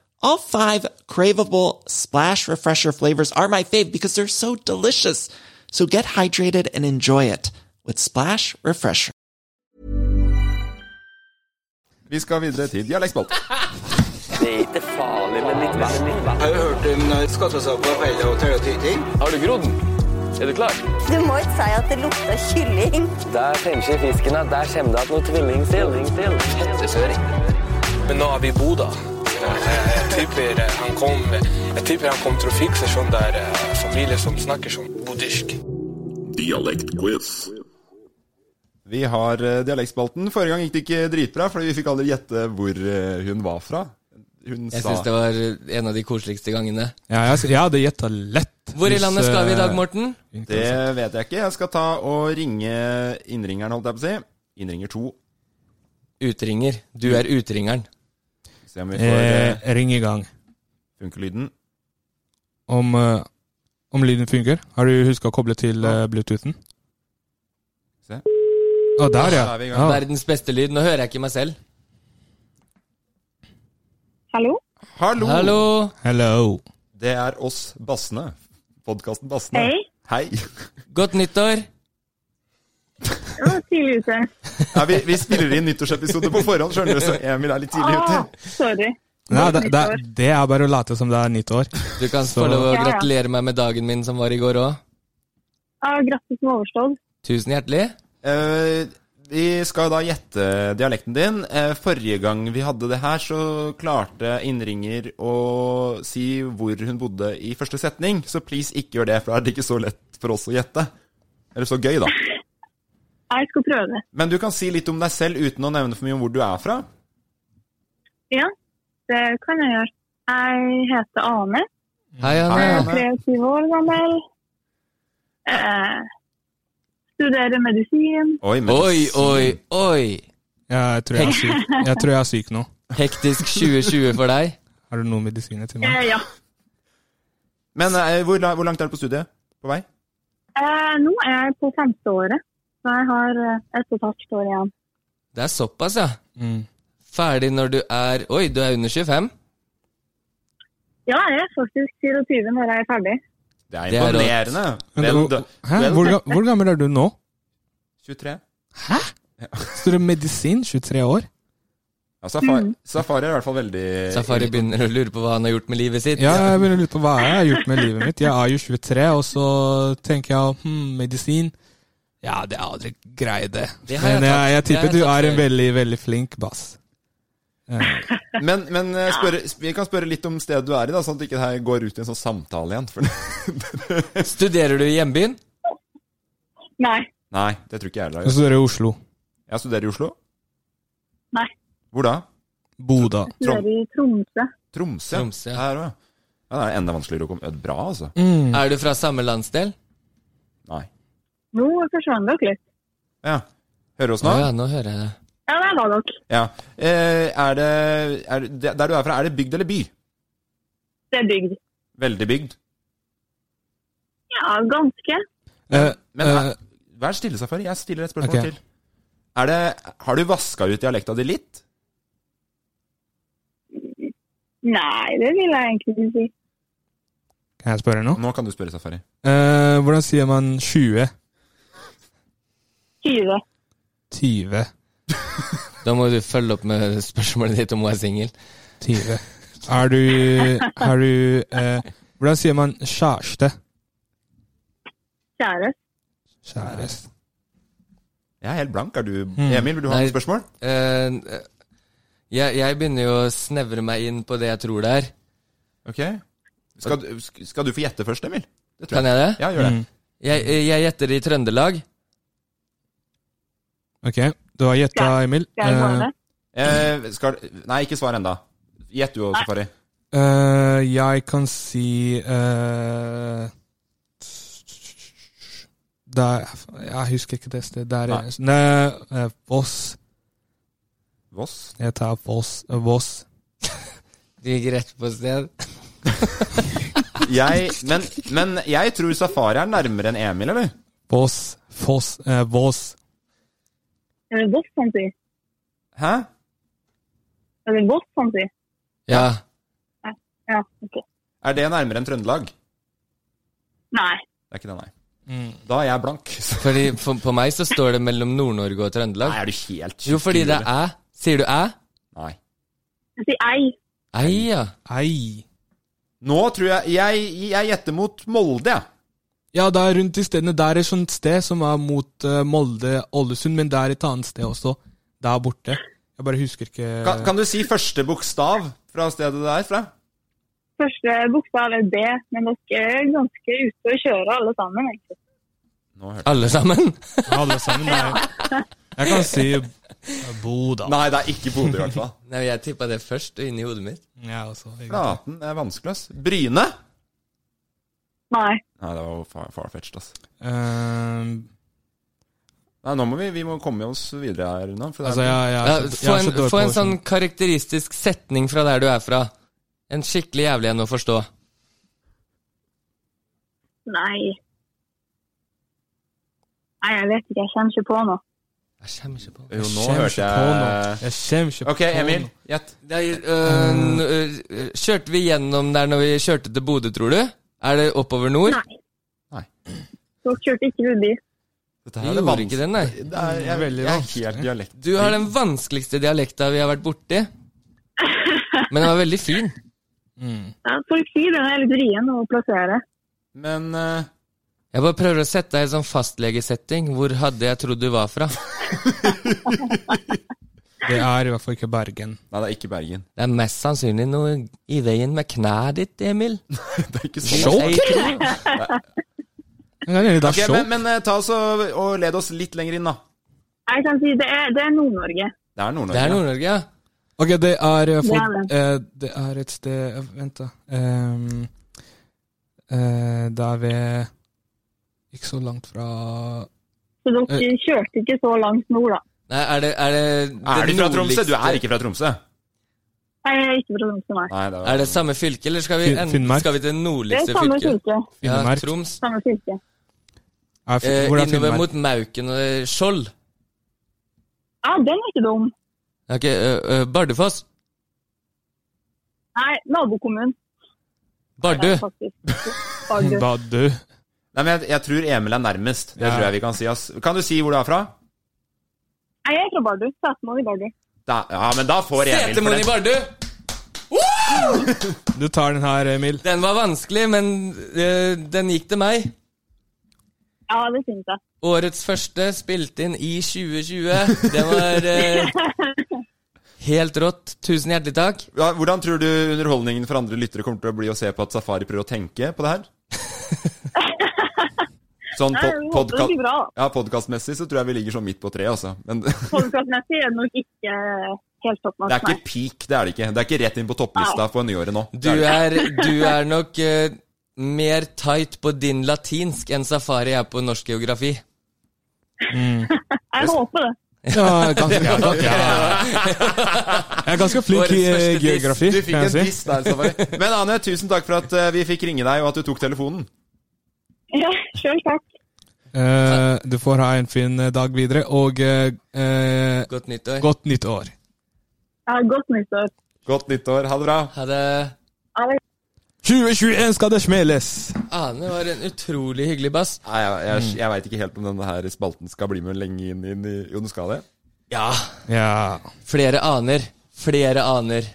[SPEAKER 11] All five craveable splash refresher flavors are my fave because they're so delicious. So get hydrated and enjoy it with Splash Refresher.
[SPEAKER 7] Vi skal videre til dialektspalt.
[SPEAKER 4] Har du hørt om eh, skattesaka, paella og teletyting?
[SPEAKER 12] Har du grodd? Er du klar? Du må ikke si at det lukter kylling.
[SPEAKER 13] Der tenker fisken at der kommer det noe tvilling til.
[SPEAKER 4] Men nå er vi i Bodø. Jeg tipper eh, han kom Jeg tipper han kom til å fikse sånn der eh, familie som snakker sånn buddhisk.
[SPEAKER 7] Dialektquiz. Vi har eh, dialektspalten. Forrige gang gikk det ikke dritbra, for vi fikk aldri gjette hvor eh, hun var fra. Hun
[SPEAKER 9] Jeg
[SPEAKER 7] sa
[SPEAKER 9] syns det var en av de koseligste gangene.
[SPEAKER 8] Ja, jeg, jeg hadde gjetta lett.
[SPEAKER 9] Hvor i
[SPEAKER 8] hvis,
[SPEAKER 9] landet skal vi i dag,
[SPEAKER 8] eh,
[SPEAKER 9] Morten?
[SPEAKER 7] Det er- vet jeg ikke. Jeg skal ta og ringe innringeren, holdt jeg på å si. Innringer to.
[SPEAKER 9] Utringer. Du er utringeren.
[SPEAKER 7] Se om vi får
[SPEAKER 8] Eh,
[SPEAKER 7] eh,
[SPEAKER 8] ring i gang.
[SPEAKER 7] funkelyden.
[SPEAKER 8] Om, eh, om lyden funker. Har du huska å koble til eh, bluetoothen?
[SPEAKER 7] Se. er
[SPEAKER 8] Å, der, ja. ja.
[SPEAKER 9] Verdens beste lyd. Nå hører jeg ikke meg selv.
[SPEAKER 14] Hallo?
[SPEAKER 7] Hallo.
[SPEAKER 9] Hallo.
[SPEAKER 7] Det er oss Bassene. Podkasten Bassene.
[SPEAKER 14] Hei.
[SPEAKER 7] Hei.
[SPEAKER 9] Godt nyttår.
[SPEAKER 14] Ja, tidlig ute.
[SPEAKER 7] Ja, vi, vi spiller inn nyttårsepisode på forhånd, skjønner du, så Emil er litt tidlig ute.
[SPEAKER 14] Ah, sorry.
[SPEAKER 8] Nei, det, det, det er bare å late som det er nytt år.
[SPEAKER 9] Du kan få lov å gratulere meg med dagen min som var i går òg.
[SPEAKER 14] Ah, grattis med overstått.
[SPEAKER 9] Tusen hjertelig.
[SPEAKER 7] Eh, vi skal da gjette dialekten din. Eh, forrige gang vi hadde det her, så klarte innringer å si hvor hun bodde i første setning. Så please, ikke gjør det, for da er det ikke så lett for oss å gjette. Eller så gøy, da.
[SPEAKER 14] Jeg skal prøve det.
[SPEAKER 7] Men du kan si litt om deg selv uten å nevne for mye om hvor du er fra.
[SPEAKER 14] Ja, det kan jeg gjøre. Jeg heter Ane.
[SPEAKER 9] Hei,
[SPEAKER 14] Jeg er
[SPEAKER 9] Anne.
[SPEAKER 14] 23 år gammel. Eh, studerer medisin.
[SPEAKER 7] Oi,
[SPEAKER 9] oi, oi, oi.
[SPEAKER 8] Ja, jeg tror jeg er syk, jeg tror jeg er syk nå.
[SPEAKER 9] Hektisk 2020 for deg.
[SPEAKER 8] Har du noen medisiner til meg?
[SPEAKER 14] Eh, ja.
[SPEAKER 7] Men eh, hvor, la- hvor langt er du på studiet? På vei?
[SPEAKER 14] Eh, nå er jeg på femte året, så jeg har eh, ett og et halvt år igjen.
[SPEAKER 9] Det er såpass, ja.
[SPEAKER 8] Mm.
[SPEAKER 9] Ferdig når du er Oi, du er under 25?
[SPEAKER 14] Ja, jeg er faktisk 24 når jeg er ferdig.
[SPEAKER 7] Det
[SPEAKER 9] Det er rått.
[SPEAKER 8] Men det- Hæ? Hvor, ga- hvor gammel er du nå?
[SPEAKER 7] 23.
[SPEAKER 8] Står det medisin? 23 år?
[SPEAKER 7] Ja, safari,
[SPEAKER 8] Mm.
[SPEAKER 7] safari er i hvert fall veldig
[SPEAKER 9] Safari begynner å lure på hva han har gjort med livet sitt.
[SPEAKER 8] Ja, jeg begynner å lure på hva jeg har gjort med livet mitt. Jeg er jo 23, og så tenker jeg hm, medisin. Ja, det er aldri grei det.
[SPEAKER 7] Det har jeg
[SPEAKER 8] Men jeg, jeg
[SPEAKER 7] tatt- det har
[SPEAKER 8] tipper
[SPEAKER 7] jeg
[SPEAKER 8] du
[SPEAKER 7] tatt
[SPEAKER 8] er en
[SPEAKER 7] før.
[SPEAKER 8] veldig, veldig flink bass.
[SPEAKER 7] Men, men eh, spørre- sp- vi kan spørre litt om stedet du er i, da, sånn at ikke det her går ut i en sånn samtale igjen. For
[SPEAKER 9] Studerer du i hjembyen?
[SPEAKER 14] Nei.
[SPEAKER 7] Nei, det tror ikke jeg heller.
[SPEAKER 8] Og så studerer jeg i Oslo.
[SPEAKER 7] Jeg studerer i Oslo.
[SPEAKER 14] Nei.
[SPEAKER 7] Hvor da?
[SPEAKER 8] Bodø.
[SPEAKER 7] Trom
[SPEAKER 14] Studerer i Tromsø.
[SPEAKER 7] Tromsø.
[SPEAKER 9] Tromsø. Mm.
[SPEAKER 7] Her òg, ja. Ja, Det er enda vanskeligere å komme ø, Bra, altså.
[SPEAKER 8] Mm.
[SPEAKER 9] Er du fra samme landsdel?
[SPEAKER 7] Nei.
[SPEAKER 14] Nå forsvant dere litt.
[SPEAKER 7] Ja. Hører du oss nå?
[SPEAKER 9] ja, nå hører jeg det.
[SPEAKER 14] Ja, der var dere.
[SPEAKER 7] Ja. Eh, er det er, det- Der du er fra, er det bygd eller by?
[SPEAKER 14] Det er bygd.
[SPEAKER 7] Veldig bygd.
[SPEAKER 14] Ja, ganske.
[SPEAKER 8] Men,
[SPEAKER 7] men
[SPEAKER 9] Eh.
[SPEAKER 7] er, vær stille, Safari. Jeg stiller et spørsmål
[SPEAKER 8] ok.
[SPEAKER 7] til. Er det, har du vaska ut dialekta di litt?
[SPEAKER 14] Nei, det vil jeg egentlig ikke si.
[SPEAKER 8] Kan jeg spørre nå?
[SPEAKER 7] Nå kan du spørre, Safari.
[SPEAKER 8] Eh, hvordan sier man 20?
[SPEAKER 14] 20.
[SPEAKER 8] 20.
[SPEAKER 9] Da må du følge opp med spørsmålet ditt om hun er singel.
[SPEAKER 8] 20. Er du, er du eh, Hvordan sier man kjæreste?
[SPEAKER 14] Kjære.
[SPEAKER 8] Kjæreste.
[SPEAKER 7] Jeg er helt blank. Er du Emil, vil du ha
[SPEAKER 9] Hmm. Nei,
[SPEAKER 7] noen spørsmål?
[SPEAKER 9] eh, jeg, jeg begynner jo å snevre meg inn på det jeg tror det er.
[SPEAKER 7] Ok. Skal, du- sk- skal du få gjette først, Emil? Det
[SPEAKER 9] Kan jeg det?
[SPEAKER 7] Ja, gjør det.
[SPEAKER 8] Mm.
[SPEAKER 9] Jeg, eh, jeg gjetter i Trøndelag.
[SPEAKER 8] Ok, du har gjetta, Emil. Eh,
[SPEAKER 7] Eh, skal, nei, ikke svar ennå. Gjett du, Safari.
[SPEAKER 8] eh, jeg kan si eh, der, Jeg husker ikke det stedet. Der er Nei, eh, Voss.
[SPEAKER 7] Voss?
[SPEAKER 8] Jeg tar Voss. eh, Voss.
[SPEAKER 9] Du gikk rett på sted.
[SPEAKER 7] Jeg, men, men jeg tror Safari er nærmere enn Emil, eller?
[SPEAKER 8] Voss. Foss. eh, Voss.
[SPEAKER 14] Er det Voss han sier?
[SPEAKER 7] Hæ?
[SPEAKER 14] Er det Voss han sier?
[SPEAKER 9] Ja.
[SPEAKER 14] Ja, ok.
[SPEAKER 7] Er det nærmere enn Trøndelag? Det
[SPEAKER 14] Nei.
[SPEAKER 7] er ikke det, nei.
[SPEAKER 9] Hmm.
[SPEAKER 7] Da er jeg blank.
[SPEAKER 9] Fordi for, På meg så står det mellom Nord-Norge og Trøndelag.
[SPEAKER 7] Nei, er du helt
[SPEAKER 9] Jo, fordi det er æ. Sier du æ?
[SPEAKER 7] Nei.
[SPEAKER 14] Jeg sier ei.
[SPEAKER 9] Ei, ja.
[SPEAKER 8] Ei.
[SPEAKER 7] Nå tror jeg Jeg, jeg gjetter mot Molde, jeg.
[SPEAKER 8] Ja, det er rundt i stedene. Det er et sånt sted som er mot eh, Molde, Ålesund, men det er et annet sted også. Der borte. Jeg bare husker ikke
[SPEAKER 7] Kan, kan du si første bokstav fra stedet det er fra?
[SPEAKER 14] Første bokstav er B, men dere er ganske ute å kjøre alle sammen, egentlig.
[SPEAKER 9] Alle sammen?
[SPEAKER 8] Alle sammen,
[SPEAKER 14] Ja.
[SPEAKER 8] Jeg kan si Bodø.
[SPEAKER 7] Ah, Nei, det er ikke Bodø i hvert fall.
[SPEAKER 9] Nei, Jeg tippa det først inni hodet mitt.
[SPEAKER 8] Ja, altså, også,
[SPEAKER 7] Flaten det er vanskelig, ass. Bryne?
[SPEAKER 14] Nei.
[SPEAKER 7] Nei, det var jo far farfetched, ass.
[SPEAKER 8] Ehm,
[SPEAKER 7] Nei, nå må vi, vi må komme oss videre her, Runa. for det er-
[SPEAKER 8] Altså, jeg- jeg er så-
[SPEAKER 9] Få en, få en sånn karakteristisk setning fra der du er fra. En skikkelig jævlig en å forstå.
[SPEAKER 14] Nei. Nei, jeg vet ikke. Jeg kommer ikke på noe.
[SPEAKER 9] Jeg kommer ikke på
[SPEAKER 7] Jo, nå
[SPEAKER 8] Jeg kommer
[SPEAKER 7] hørte
[SPEAKER 8] ikke på noe.
[SPEAKER 7] jeg
[SPEAKER 8] Jeg kommer ikke
[SPEAKER 7] Ok,
[SPEAKER 8] på
[SPEAKER 7] Emil.
[SPEAKER 8] noe.
[SPEAKER 7] Gjett.
[SPEAKER 9] øh, kjørte vi gjennom der når vi kjørte til Bodø, tror du? Er det oppover nord?
[SPEAKER 14] Nei. Dere kjørte ikke forbi.
[SPEAKER 7] Dette
[SPEAKER 9] Vi
[SPEAKER 7] her er det
[SPEAKER 9] gjorde
[SPEAKER 7] vans-
[SPEAKER 9] ikke det, nei.
[SPEAKER 7] Det er, jeg, er veldig vanskelig. Jeg er helt dialekt.
[SPEAKER 9] Du har den vanskeligste dialekta vi har vært borti. Men den var veldig fin.
[SPEAKER 14] Ja, folk sier den er litt vrien å plassere.
[SPEAKER 7] Men eh,
[SPEAKER 9] Jeg bare prøver å sette deg i sånn fastlegesetting. Hvor hadde jeg trodd du var fra?
[SPEAKER 8] Det er i hvert fall ikke Bergen.
[SPEAKER 7] Nei, det er ikke Bergen.
[SPEAKER 9] Det er mest sannsynlig noe i veien med knærne ditt, Emil.
[SPEAKER 7] det er ikke
[SPEAKER 9] Jeg tror-
[SPEAKER 8] det er
[SPEAKER 7] Ok,
[SPEAKER 8] sjokk.
[SPEAKER 7] men, men eh, ta oss og, og led oss litt lenger inn, da.
[SPEAKER 14] Jeg kan si det er, det er Nord-Norge.
[SPEAKER 7] Det er Nord-Norge.
[SPEAKER 9] Det er Nord-Norge, ja.
[SPEAKER 8] Ok, det er eh, for,
[SPEAKER 14] Det
[SPEAKER 8] eh, Det er et sted eh, Vent, da. Ehm, eh, det er ved Ikke så langt fra
[SPEAKER 14] Så dere
[SPEAKER 8] Eh.
[SPEAKER 14] kjørte ikke så langt nord, da.
[SPEAKER 9] Nei, er det Er, det
[SPEAKER 7] Er
[SPEAKER 9] det
[SPEAKER 7] du fra Tromsø? Du
[SPEAKER 9] nordligste-
[SPEAKER 7] er ikke fra Tromsø.
[SPEAKER 14] Jeg er ikke fra Tromsø, nei.
[SPEAKER 7] Nei, det
[SPEAKER 9] Er det samme fylke, eller skal vi,
[SPEAKER 8] Fin-
[SPEAKER 9] en,
[SPEAKER 8] Finnmark.
[SPEAKER 9] skal vi til
[SPEAKER 14] Det er
[SPEAKER 9] nordligste
[SPEAKER 14] samme
[SPEAKER 9] fylke?
[SPEAKER 14] fylke.
[SPEAKER 9] Ja,
[SPEAKER 8] Finnmark.
[SPEAKER 9] Troms.
[SPEAKER 14] Samme fylke.
[SPEAKER 8] er, fi-
[SPEAKER 9] Eh,
[SPEAKER 8] Hvor er
[SPEAKER 9] innover
[SPEAKER 8] Finnmark?
[SPEAKER 9] mot Mauken og Skjold.
[SPEAKER 14] Ja, den er ikke dum.
[SPEAKER 9] Ok, eh, eh, Bardufoss.
[SPEAKER 14] Nei, nabokommunen.
[SPEAKER 9] Bardu.
[SPEAKER 14] Bardu.
[SPEAKER 8] Bardu.
[SPEAKER 7] Nei, men jeg, jeg tror Emil er nærmest. Det
[SPEAKER 8] Ja.
[SPEAKER 7] tror jeg vi kan si. Ass. Kan du si hvor du er fra?
[SPEAKER 14] Nei, jeg er fra Bardu. Statsmann i Bardu.
[SPEAKER 7] Da, ja, men da får Emil for
[SPEAKER 9] Setermoen i
[SPEAKER 7] den.
[SPEAKER 9] Bardu!
[SPEAKER 8] Du tar den her, Emil.
[SPEAKER 9] Den var vanskelig, men eh, den gikk til meg.
[SPEAKER 14] Ja, det syns jeg.
[SPEAKER 9] Årets første spilt inn i 2020. Det var eh, helt rått. Tusen hjertelig takk.
[SPEAKER 7] Ja, hvordan tror du underholdningen for andre lyttere kommer til å bli å se på at Safari prøver å tenke på det her? Sånn
[SPEAKER 14] Nei, jeg
[SPEAKER 7] po
[SPEAKER 14] håper det
[SPEAKER 7] podka
[SPEAKER 14] blir bra.
[SPEAKER 7] ja, podcastmessig så tror jeg vi ligger sånn midt på treet, altså. Men det
[SPEAKER 14] Folkekastmessig er det nok ikke helt topp nok,
[SPEAKER 7] er ikke peak, det er det ikke. Det er ikke rett inn på topplista på nyåret nå. Det
[SPEAKER 9] Du
[SPEAKER 7] det ikke.
[SPEAKER 9] er, du er nok eh, mer tight på din latinsk enn Safari er på norsk geografi.
[SPEAKER 14] Jeg håper det.
[SPEAKER 8] Ja, ganske, ja, ganske, ja. Jeg er ganske flink i
[SPEAKER 9] Årets første
[SPEAKER 8] eh,
[SPEAKER 9] diss.
[SPEAKER 8] geografi,
[SPEAKER 7] Du fikk
[SPEAKER 8] kan
[SPEAKER 7] en
[SPEAKER 8] jeg si.
[SPEAKER 7] diss der, Safari. Men Ane, tusen takk for at eh, vi fikk ringe deg, og at du tok telefonen.
[SPEAKER 14] Ja, sjøl takk.
[SPEAKER 8] Eh, du får ha en fin eh, dag videre, og eh, eh,
[SPEAKER 9] Godt nyttår.
[SPEAKER 8] godt nytt år.
[SPEAKER 14] Ja, godt nyttår.
[SPEAKER 7] Godt nyttår. Ha det bra.
[SPEAKER 9] Ha det.
[SPEAKER 14] Ha det.
[SPEAKER 8] 2021 skal det smelles!
[SPEAKER 9] Ane var en utrolig hyggelig bass.
[SPEAKER 7] Nei, jeg, jeg, jeg veit ikke helt om denne her spalten skal bli med lenge inn, inn i Jo, den skal det?
[SPEAKER 9] Ja.
[SPEAKER 8] Ja.
[SPEAKER 9] Flere aner. Flere aner.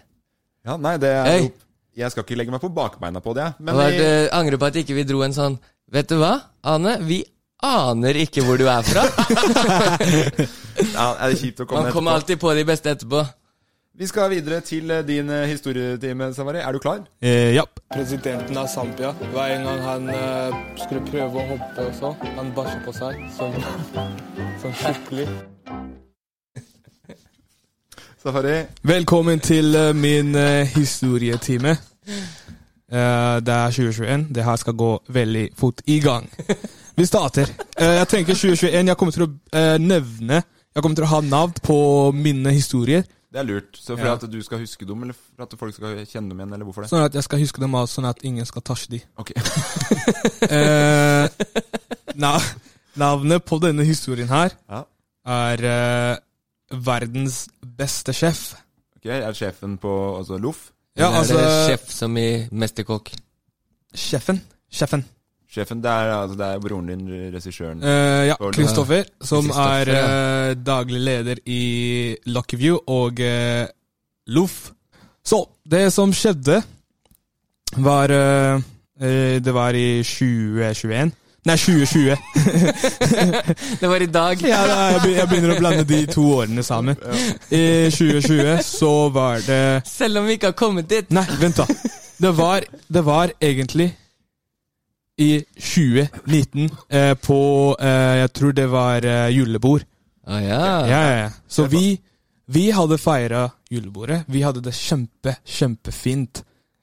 [SPEAKER 7] Ja, nei, det er
[SPEAKER 9] Hei.
[SPEAKER 7] jo Jeg skal ikke legge meg på bakbeina på det, jeg.
[SPEAKER 9] Men
[SPEAKER 7] Men vi-
[SPEAKER 9] jeg angrer på at ikke vi dro en sånn Vet du hva, Ane? Vi aner ikke hvor du er fra.
[SPEAKER 7] ja, er det kjipt å komme
[SPEAKER 9] Man kommer
[SPEAKER 7] etterpå?
[SPEAKER 9] alltid på de beste etterpå.
[SPEAKER 7] Vi skal videre til eh, din eh, historietime, Savari. Er du klar?
[SPEAKER 8] Eh, ja.
[SPEAKER 4] Presidenten av Zambia. Hver en gang han eh, skulle prøve å hoppe og så, han bæsja på seg. Sånn, sånn skikkelig.
[SPEAKER 7] Safari?
[SPEAKER 8] Velkommen til eh, min eh, historietime. Eh, det er 2021. Det her skal gå veldig fort i gang. Vi starter. Eh, jeg tenker 2021. Jeg kommer til å eh, nevne Jeg kommer til å ha navn på mine historier.
[SPEAKER 7] Det er lurt. Så for
[SPEAKER 8] Ja.
[SPEAKER 7] at du skal huske dem, eller for at folk skal kjenne dem igjen, eller hvorfor det?
[SPEAKER 8] Sånn at jeg skal huske dem av, sånn at ingen skal tasje de.
[SPEAKER 7] Ok.
[SPEAKER 8] Eh, na navnet på denne historien her
[SPEAKER 7] Ja.
[SPEAKER 8] er eh, verdens beste sjef.
[SPEAKER 7] ok, Er sjefen på altså, Loff?
[SPEAKER 8] Ja,
[SPEAKER 9] Eller
[SPEAKER 8] altså
[SPEAKER 9] er det sjef som i Mesterkokk?
[SPEAKER 8] Sjefen. Sjefen.
[SPEAKER 7] Sjefen, det er, altså, det er broren din, regissøren.
[SPEAKER 8] Eh, ja,
[SPEAKER 7] Paul-
[SPEAKER 8] Kristoffer, som
[SPEAKER 9] Kristoffer,
[SPEAKER 8] er eh, daglig leder i Lucky View og uh, Loff. Så det som skjedde, var eh, eh, Det var i 2021. Nei, 2020.
[SPEAKER 9] Det var i dag.
[SPEAKER 8] Ja, da, jeg be- jeg begynner å blande de to årene sammen. I 2020 så var det
[SPEAKER 9] Selv om vi ikke har kommet dit.
[SPEAKER 8] Nei, vent, da. Det var, det var egentlig i 2019 eh, på eh, Jeg tror det var eh, julebord.
[SPEAKER 9] Ah, ja.
[SPEAKER 8] Ja, ja, ja. Så vi, vi hadde feira julebordet. Vi hadde det kjempe, kjempefint.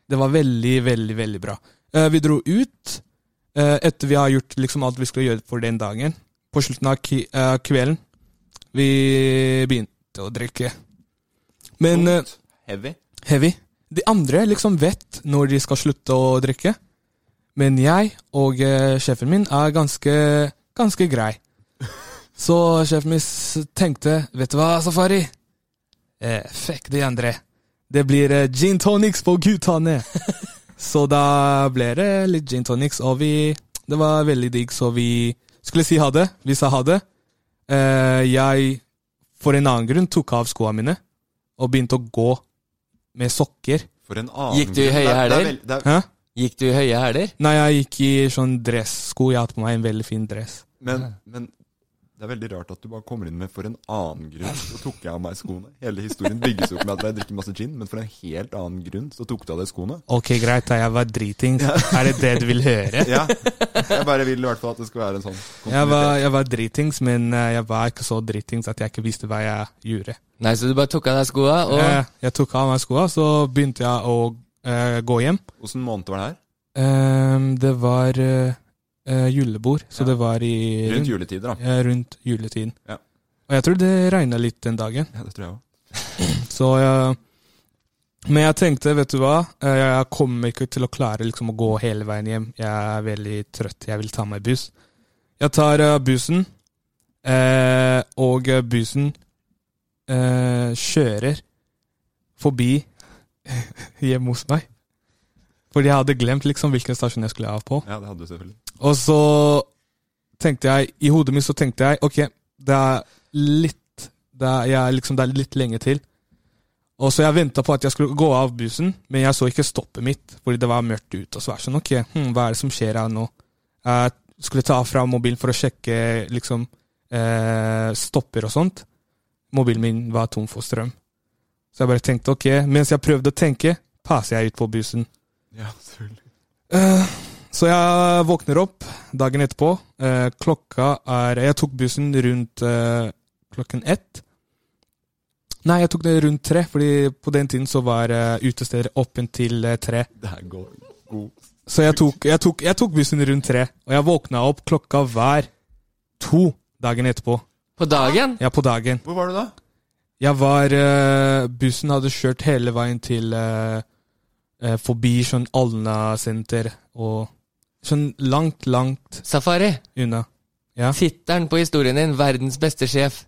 [SPEAKER 8] Det var veldig, veldig, veldig bra. Eh, Vi dro ut eh, etter vi har gjort liksom alt vi skulle gjøre for den dagen. På slutten av ki- eh, kvelden. Vi begynte å drikke. Men eh,
[SPEAKER 7] Heavy.
[SPEAKER 8] Heavy. De andre liksom vet når de skal slutte å drikke. Men jeg og eh, sjefen min er ganske, ganske grei. Så sjefen min s- tenkte, vet du hva, Safari? Eh, fuck de andre. Det blir eh, gin tonics på guttene. så da ble det litt gin tonics, og vi Det var veldig digg, så vi skulle si ha det. Vi sa ha det. Eh, jeg, for en annen grunn, tok av skoene mine og begynte å gå med sokker.
[SPEAKER 7] For en annen
[SPEAKER 9] Gikk du i høye hæler?
[SPEAKER 8] Hæ?
[SPEAKER 9] Gikk du i høye hæler?
[SPEAKER 8] Nei, jeg gikk i sånn dressko. Jeg har hatt på meg en veldig fin dress.
[SPEAKER 7] Men, men det er veldig rart at du bare kommer inn med 'for en annen grunn' så tok jeg av meg skoene. Hele historien bygges opp med at jeg drikker masse gin, men for en helt annen grunn så tok du av deg skoene.
[SPEAKER 8] Ok, greit, da. Jeg var dritings. Er det det du vil høre?
[SPEAKER 7] Ja. Jeg bare vil i hvert fall at det skal være en sånn
[SPEAKER 8] Jeg var, jeg var dritings, men eh, jeg var ikke så dritings at jeg ikke visste hva jeg gjorde.
[SPEAKER 9] Nei, så du bare tok av deg skoa og
[SPEAKER 8] Eh, Jeg tok av meg skoene, så begynte jeg å eh, gå hjem.
[SPEAKER 7] Åssen måned var det her?
[SPEAKER 8] Ehm, det var eh, eh, julebord, så det var i
[SPEAKER 7] Rundt juletider, da.
[SPEAKER 8] Ja, rundt juletiden.
[SPEAKER 7] Ja.
[SPEAKER 8] Og jeg tror det regna litt den dagen.
[SPEAKER 7] Ja, det tror jeg òg.
[SPEAKER 8] Så jeg, Men jeg tenkte, vet du hva, eh, jeg kommer ikke til å klare liksom å gå hele veien hjem. Jeg er veldig trøtt, jeg vil ta meg buss. Jeg tar eh, bussen, eh, og eh, bussen eh, kjører forbi hjemme hos meg. Fordi jeg hadde glemt liksom hvilken stasjon jeg skulle av på.
[SPEAKER 7] Ja, det hadde du selvfølgelig.
[SPEAKER 8] Og så tenkte jeg, i hodet mitt så tenkte jeg, ok, det er litt, det er, jeg, er liksom, det er litt lenge til. Og så jeg ventet på at jeg skulle gå av bussen, men jeg så ikke stoppet mitt, fordi det var mørkt ute, og så var jeg sånn, ok, hm, hva er det som skjer her nå? Jeg skulle ta fra mobilen for å sjekke, liksom, eh, stopper og sånt. Mobilen min var tom for strøm. Så jeg bare tenkte, ok, mens jeg prøvde å tenke, passer jeg ut på bussen.
[SPEAKER 7] Ja, selvfølgelig.
[SPEAKER 8] Eh, Så jeg våkner opp dagen etterpå. Eh, Klokka er Jeg tok bussen rundt eh, klokken ett. Nei, jeg tok det rundt tre, fordi på den tiden så var eh, utesteder åpent til eh, tre.
[SPEAKER 7] Det her går god.
[SPEAKER 8] Så jeg tok, jeg, tok, jeg tok bussen rundt tre, og jeg våkna opp klokka hver to dagen etterpå.
[SPEAKER 9] På dagen?
[SPEAKER 8] Ja, på dagen.
[SPEAKER 7] Hvor var du da?
[SPEAKER 8] Jeg var eh, Bussen hadde kjørt hele veien til eh, eh, Forbi sånn Alna-senter og Sånn langt, langt
[SPEAKER 9] Safari.
[SPEAKER 8] unna. Ja.
[SPEAKER 9] Tittelen på historien din 'Verdens beste sjef'.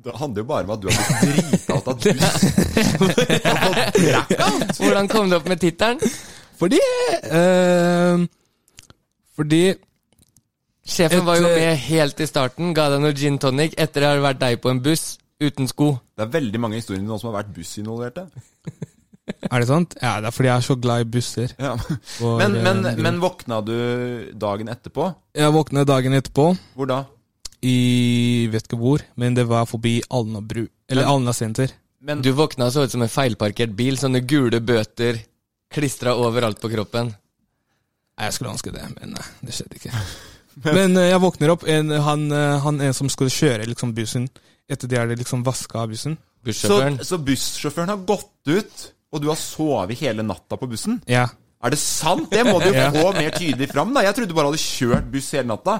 [SPEAKER 7] Det handler jo bare om at du har blitt drita ut av dus.
[SPEAKER 9] Hvordan kom du opp med tittelen?
[SPEAKER 8] Fordi eh, Fordi
[SPEAKER 9] Sjefen var jo
[SPEAKER 8] Et, eh,
[SPEAKER 9] med helt i starten, ga deg noe gin tonic etter det har vært deg på en buss uten sko.
[SPEAKER 7] Det er veldig mange historier nå som har vært bussinvolverte.
[SPEAKER 8] Er det sant? Ja, det er fordi jeg er så glad i busser.
[SPEAKER 7] Ja.
[SPEAKER 8] Og,
[SPEAKER 7] Men,
[SPEAKER 8] eh,
[SPEAKER 7] men, men våkna du dagen etterpå?
[SPEAKER 8] Jeg våkna dagen etterpå
[SPEAKER 7] Hvor da?
[SPEAKER 8] i vet ikke hvor, men det var forbi Alna bru. Eller Alna senter.
[SPEAKER 7] Men
[SPEAKER 9] Du våkna og så ut som en feilparkert bil. Sånne gule bøter klistra overalt på kroppen.
[SPEAKER 8] Nei, Jeg skulle ønske det, men eh, det skjedde ikke. Men eh, jeg våkner opp. En, han, eh, han en som skulle kjøre liksom, bussen etter de hadde liksom vaska av bussen.
[SPEAKER 7] Så,
[SPEAKER 9] Bussjåføren.
[SPEAKER 7] så bussjåføren har gått ut, og du har sovet hele natta på bussen?
[SPEAKER 8] Ja.
[SPEAKER 7] Er det sant? Det må du jo
[SPEAKER 8] Ja.
[SPEAKER 7] få mer tydelig fram, da. Jeg trodde du bare hadde kjørt buss hele natta.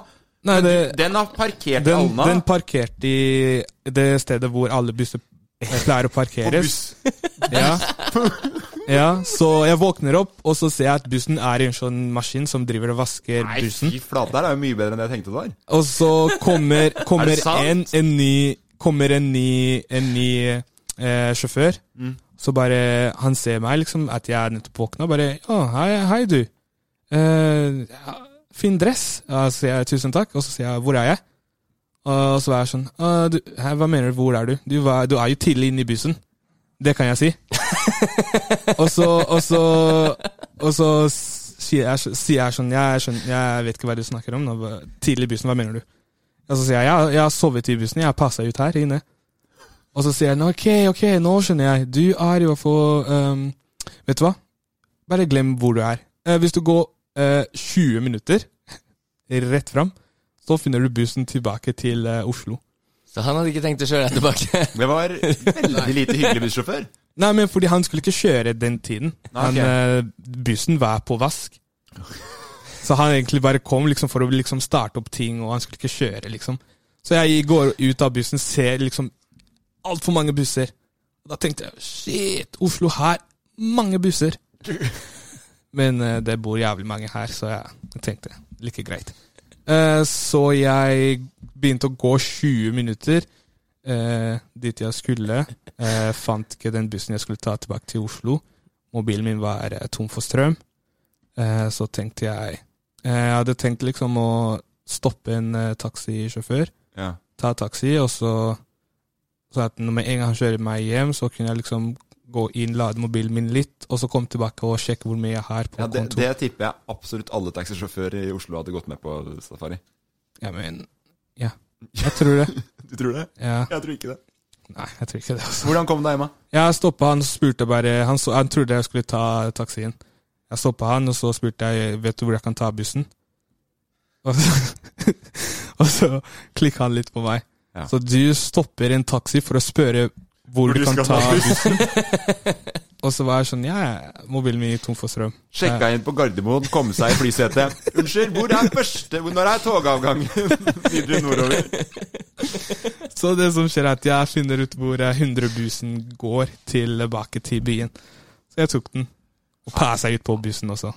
[SPEAKER 8] Nei, det,
[SPEAKER 7] Den har parkert i
[SPEAKER 8] den,
[SPEAKER 7] Alna.
[SPEAKER 8] den parkerte i det stedet hvor alle busser eh, pleier å
[SPEAKER 7] på
[SPEAKER 8] parkeres.
[SPEAKER 7] buss.
[SPEAKER 8] Ja. ja, Så jeg våkner opp, og så ser jeg at bussen er i en sånn maskin som driver og vasker
[SPEAKER 7] Nei,
[SPEAKER 8] bussen.
[SPEAKER 7] fy flate, det her er jo mye bedre enn det jeg tenkte det var.
[SPEAKER 8] Og så kommer,
[SPEAKER 7] Er
[SPEAKER 8] kommer
[SPEAKER 7] det sant?
[SPEAKER 8] en, en ny, kommer en ny, en ny eh, sjåfør.
[SPEAKER 7] Mm.
[SPEAKER 8] Så bare Han ser meg, liksom, at jeg er nettopp våkna. Bare Å, hei, hei, du. Eh, ja, fin dress. Ja, så sier jeg tusen takk. Og så sier jeg hvor er jeg? Og så er jeg sånn «Å, du, hæ, Hva mener du, hvor er du? Du, var, du er jo tidlig inne i bussen. Det kan jeg si. og så Og så Og så s- sier jeg, så- sier jeg sånn jeg, skjønner, jeg vet ikke hva du snakker om. nå, hva- Tidlig i bussen, hva mener du? Og så sier jeg jeg, jeg har sovet i bussen, jeg har passa ut her inne. Og så sier han ok, ok, nå skjønner jeg. Du er i hvert fall ehm, Vet du hva? Bare glem hvor du er. Eh, hvis du går eh, 20 minutter rett fram, så finner du bussen tilbake til eh, Oslo.
[SPEAKER 9] Så han hadde ikke tenkt å kjøre deg tilbake?
[SPEAKER 7] Det var veldig lite hyggelig bussjåfør.
[SPEAKER 8] Nei, men fordi han skulle ikke kjøre den tiden.
[SPEAKER 7] Ah, ok.
[SPEAKER 8] Han, eh, bussen var på vask. Så han egentlig bare kom liksom for å liksom starte opp ting, og han skulle ikke kjøre, liksom. Så jeg går ut av bussen, ser liksom altfor mange busser. Og da tenkte jeg shit, Oslo her, mange busser. Men eh, det bor jævlig mange her, så jeg tenkte like greit. Eh, så jeg begynte å gå 20 minutter eh, dit jeg skulle. Eh, fant ikke den bussen jeg skulle ta tilbake til Oslo. Mobilen min var eh, tom for strøm. Eh, så tenkte jeg eh, Jeg hadde tenkt liksom å stoppe en eh, taxisjåfør,
[SPEAKER 7] Ja.
[SPEAKER 8] ta taxi, og så så at når med en gang han kjører meg hjem, så kunne jeg liksom gå inn, lade mobilen min litt, og så komme tilbake og sjekke hvor mye jeg har på
[SPEAKER 7] Ja, det,
[SPEAKER 8] konto.
[SPEAKER 7] det tipper jeg absolutt alle taxisjåfører i Oslo hadde gått med på safari.
[SPEAKER 8] Ja, men Ja, jeg tror det.
[SPEAKER 7] Du tror det?
[SPEAKER 8] Ja.
[SPEAKER 7] Jeg tror ikke det.
[SPEAKER 8] Nei, jeg tror ikke det. Altså.
[SPEAKER 7] Hvordan kom du deg hjem? da?
[SPEAKER 8] Jeg stoppa han og spurte bare han, så, han trodde jeg skulle ta taxien. Jeg stoppa han, og så spurte jeg Vet du hvor jeg kan ta bussen. Og så, og så klikka han litt på meg.
[SPEAKER 7] Ja.
[SPEAKER 8] Så du stopper en taxi for å spørre hvor, du kan ta bussen? og så var jeg sånn Ja, ja, mobilen min er tom for strøm.
[SPEAKER 7] Sjekka
[SPEAKER 8] Eh,
[SPEAKER 7] inn på Gardermoen, kom seg i flysetet. Unnskyld, hvor er første hvor- Når er togavgangen videre nordover?
[SPEAKER 8] Så det som skjer, er at jeg finner ut hvor eh, 100 bussen går tilbake til byen. Så jeg tok den. Og passa ut på bussen også.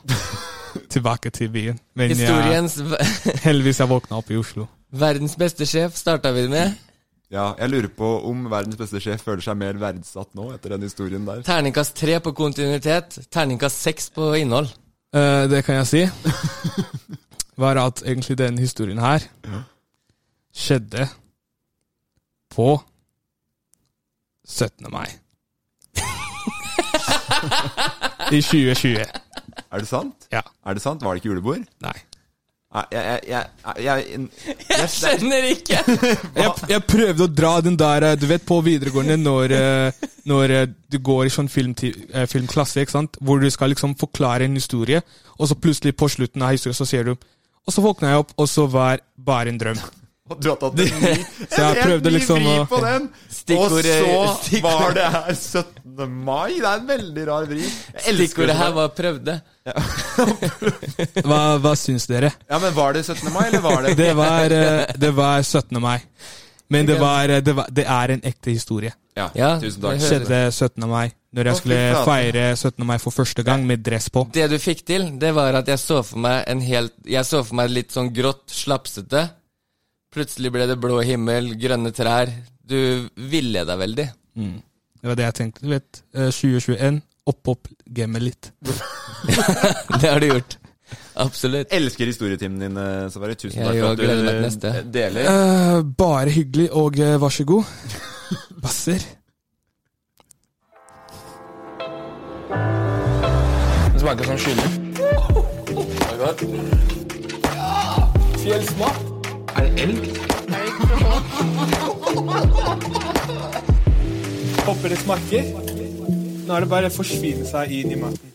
[SPEAKER 8] tilbake til byen. Men
[SPEAKER 9] Historiens-
[SPEAKER 8] jeg, heldigvis jeg våkna opp i Oslo.
[SPEAKER 9] Verdens beste sjef starta vi med.
[SPEAKER 7] Ja, jeg lurer på om verdens beste sjef føler seg mer verdsatt nå etter den historien der.
[SPEAKER 9] Terningkast tre på kontinuitet, terningkast seks på innhold.
[SPEAKER 8] Eh, det kan jeg si. Var at egentlig den historien her skjedde på 17. mai. I 2020.
[SPEAKER 7] Er det sant?
[SPEAKER 8] Ja.
[SPEAKER 7] Er det sant? Var det ikke julebord?
[SPEAKER 8] Nei.
[SPEAKER 7] Nei, jeg Jeg, jeg, jeg, jeg, jeg
[SPEAKER 9] skjønner ikke!
[SPEAKER 8] Jeg, jeg prøvde å dra den der eh, Du vet på videregående når, eh, når eh, du går i sånn filmti, eh, filmklasse, ikke sant? hvor du skal liksom forklare en historie, og så plutselig på slutten av historien så sier du Og så våkna jeg opp, og så var bare en drøm.
[SPEAKER 7] Og du har tatt en ny
[SPEAKER 8] Så jeg
[SPEAKER 7] en helt
[SPEAKER 8] prøvde
[SPEAKER 7] ny
[SPEAKER 8] liksom
[SPEAKER 7] vri
[SPEAKER 8] å-
[SPEAKER 7] på den.
[SPEAKER 9] Stikkord-
[SPEAKER 7] og så
[SPEAKER 9] stikkord-
[SPEAKER 7] var det her 17. mai. Det er en veldig rar vri. Jeg elsker
[SPEAKER 9] Stikkordet
[SPEAKER 7] det.
[SPEAKER 9] her var 'prøvde'.
[SPEAKER 8] Hva, hva syns dere?
[SPEAKER 7] Ja, men var det 17. mai, eller var det
[SPEAKER 8] Det var, eh, det var 17. mai. Men det, var, eh, det, var, det er en ekte historie.
[SPEAKER 7] Ja, tusen takk.
[SPEAKER 8] Det skjedde 17. mai, når
[SPEAKER 9] Å,
[SPEAKER 8] jeg
[SPEAKER 9] fy
[SPEAKER 8] skulle
[SPEAKER 9] flate.
[SPEAKER 8] feire 17. mai for første gang med dress på.
[SPEAKER 9] Det du fikk til, det var at jeg så for meg en helt Jeg så for meg litt sånn grått, slapsete. Plutselig ble det blå himmel, grønne trær. Du villeda veldig.
[SPEAKER 8] Mm. Det var det jeg tenkte. Du vet, eh, 2021, opp opp gamet litt.
[SPEAKER 9] det har du gjort. Absolutt.
[SPEAKER 7] Elsker historietimen din, eh, Safari. Tusen
[SPEAKER 9] Jeg
[SPEAKER 7] takk
[SPEAKER 9] jo
[SPEAKER 7] for at du
[SPEAKER 9] gleder meg til
[SPEAKER 7] eh,
[SPEAKER 9] neste.
[SPEAKER 7] deler.
[SPEAKER 8] Eh, bare hyggelig, og eh, vær så god. Basser.
[SPEAKER 4] Det smaker som chili. Fjellsmak. Er det elg? Håper det smaker. Nå er det bare å forsvinne seg inn i maten.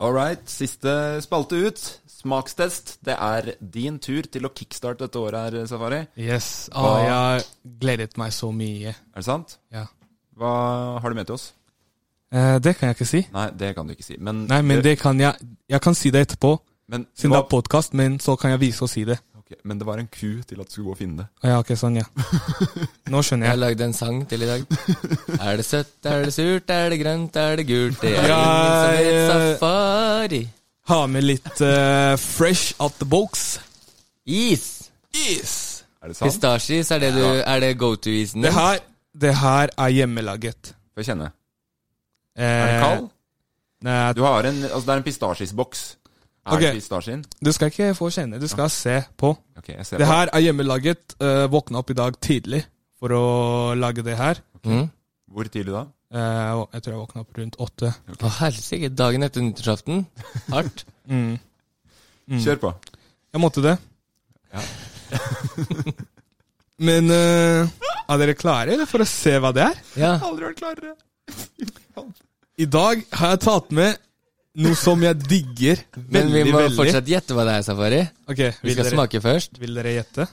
[SPEAKER 7] All right, siste spalte ut. Smakstest. Det er din tur til å kickstarte dette året her, Safari.
[SPEAKER 8] Yes. Ah,
[SPEAKER 7] Hva,
[SPEAKER 8] Å, jeg har gledet meg så mye.
[SPEAKER 7] Er det sant?
[SPEAKER 8] Ja.
[SPEAKER 7] Hva har du med til oss?
[SPEAKER 8] Eh, det kan jeg ikke si.
[SPEAKER 7] Nei, det kan du ikke si. Men,
[SPEAKER 8] Nei, men det kan jeg Jeg kan si det etterpå,
[SPEAKER 7] Men
[SPEAKER 8] siden det
[SPEAKER 7] hva-
[SPEAKER 8] er podkast, men så kan jeg vise og si det.
[SPEAKER 7] Ok, men det var en ku til at du skulle gå og finne det.
[SPEAKER 8] Å, Ja, ok, sånn, ja. Nå skjønner
[SPEAKER 9] Jeg
[SPEAKER 8] jeg.
[SPEAKER 9] har lagd en sang til i dag. Er det søtt, er det surt, er det grønt, er det gult? Det er
[SPEAKER 8] Ja,
[SPEAKER 9] ingen som vet
[SPEAKER 8] jeg-
[SPEAKER 9] safari.
[SPEAKER 8] Ha med litt eh, fresh out the box.
[SPEAKER 9] Is.
[SPEAKER 8] Is.
[SPEAKER 7] Er det sant?
[SPEAKER 9] Pistasjeis, er det, du, er det go to-isen
[SPEAKER 8] Det her, det her er hjemmelaget.
[SPEAKER 7] Få kjenne.
[SPEAKER 8] Eh,
[SPEAKER 7] Er den kald?
[SPEAKER 8] Nei,
[SPEAKER 7] Du har en, altså det er en pistasjesboks. Er
[SPEAKER 8] Ok.
[SPEAKER 7] det pistasjen?
[SPEAKER 8] du skal ikke få kjenne, du skal se på.
[SPEAKER 7] Ok, jeg ser
[SPEAKER 8] Det
[SPEAKER 7] på.
[SPEAKER 8] her er hjemmelaget. Uh, våkna opp i dag tidlig for å lage det her.
[SPEAKER 7] Hvor tidlig da?
[SPEAKER 8] Eh, og jeg tror jeg våkna opp rundt åtte.
[SPEAKER 9] Å helsike, dagen etter nyttårsaften. Hardt.
[SPEAKER 8] Mm. Mm.
[SPEAKER 7] Kjør på.
[SPEAKER 8] Jeg måtte det. Men eh, er dere klare eller, for å se hva det er?
[SPEAKER 7] Aldri vært klarere.
[SPEAKER 8] I dag har jeg tatt med noe som jeg digger
[SPEAKER 9] Men vi
[SPEAKER 8] veldig,
[SPEAKER 9] må
[SPEAKER 8] veldig.
[SPEAKER 9] fortsatt gjette hva det er, Safari.
[SPEAKER 8] Ok,
[SPEAKER 9] vi
[SPEAKER 8] vil
[SPEAKER 9] skal
[SPEAKER 8] dere-
[SPEAKER 9] smake først.
[SPEAKER 8] Vil dere gjette?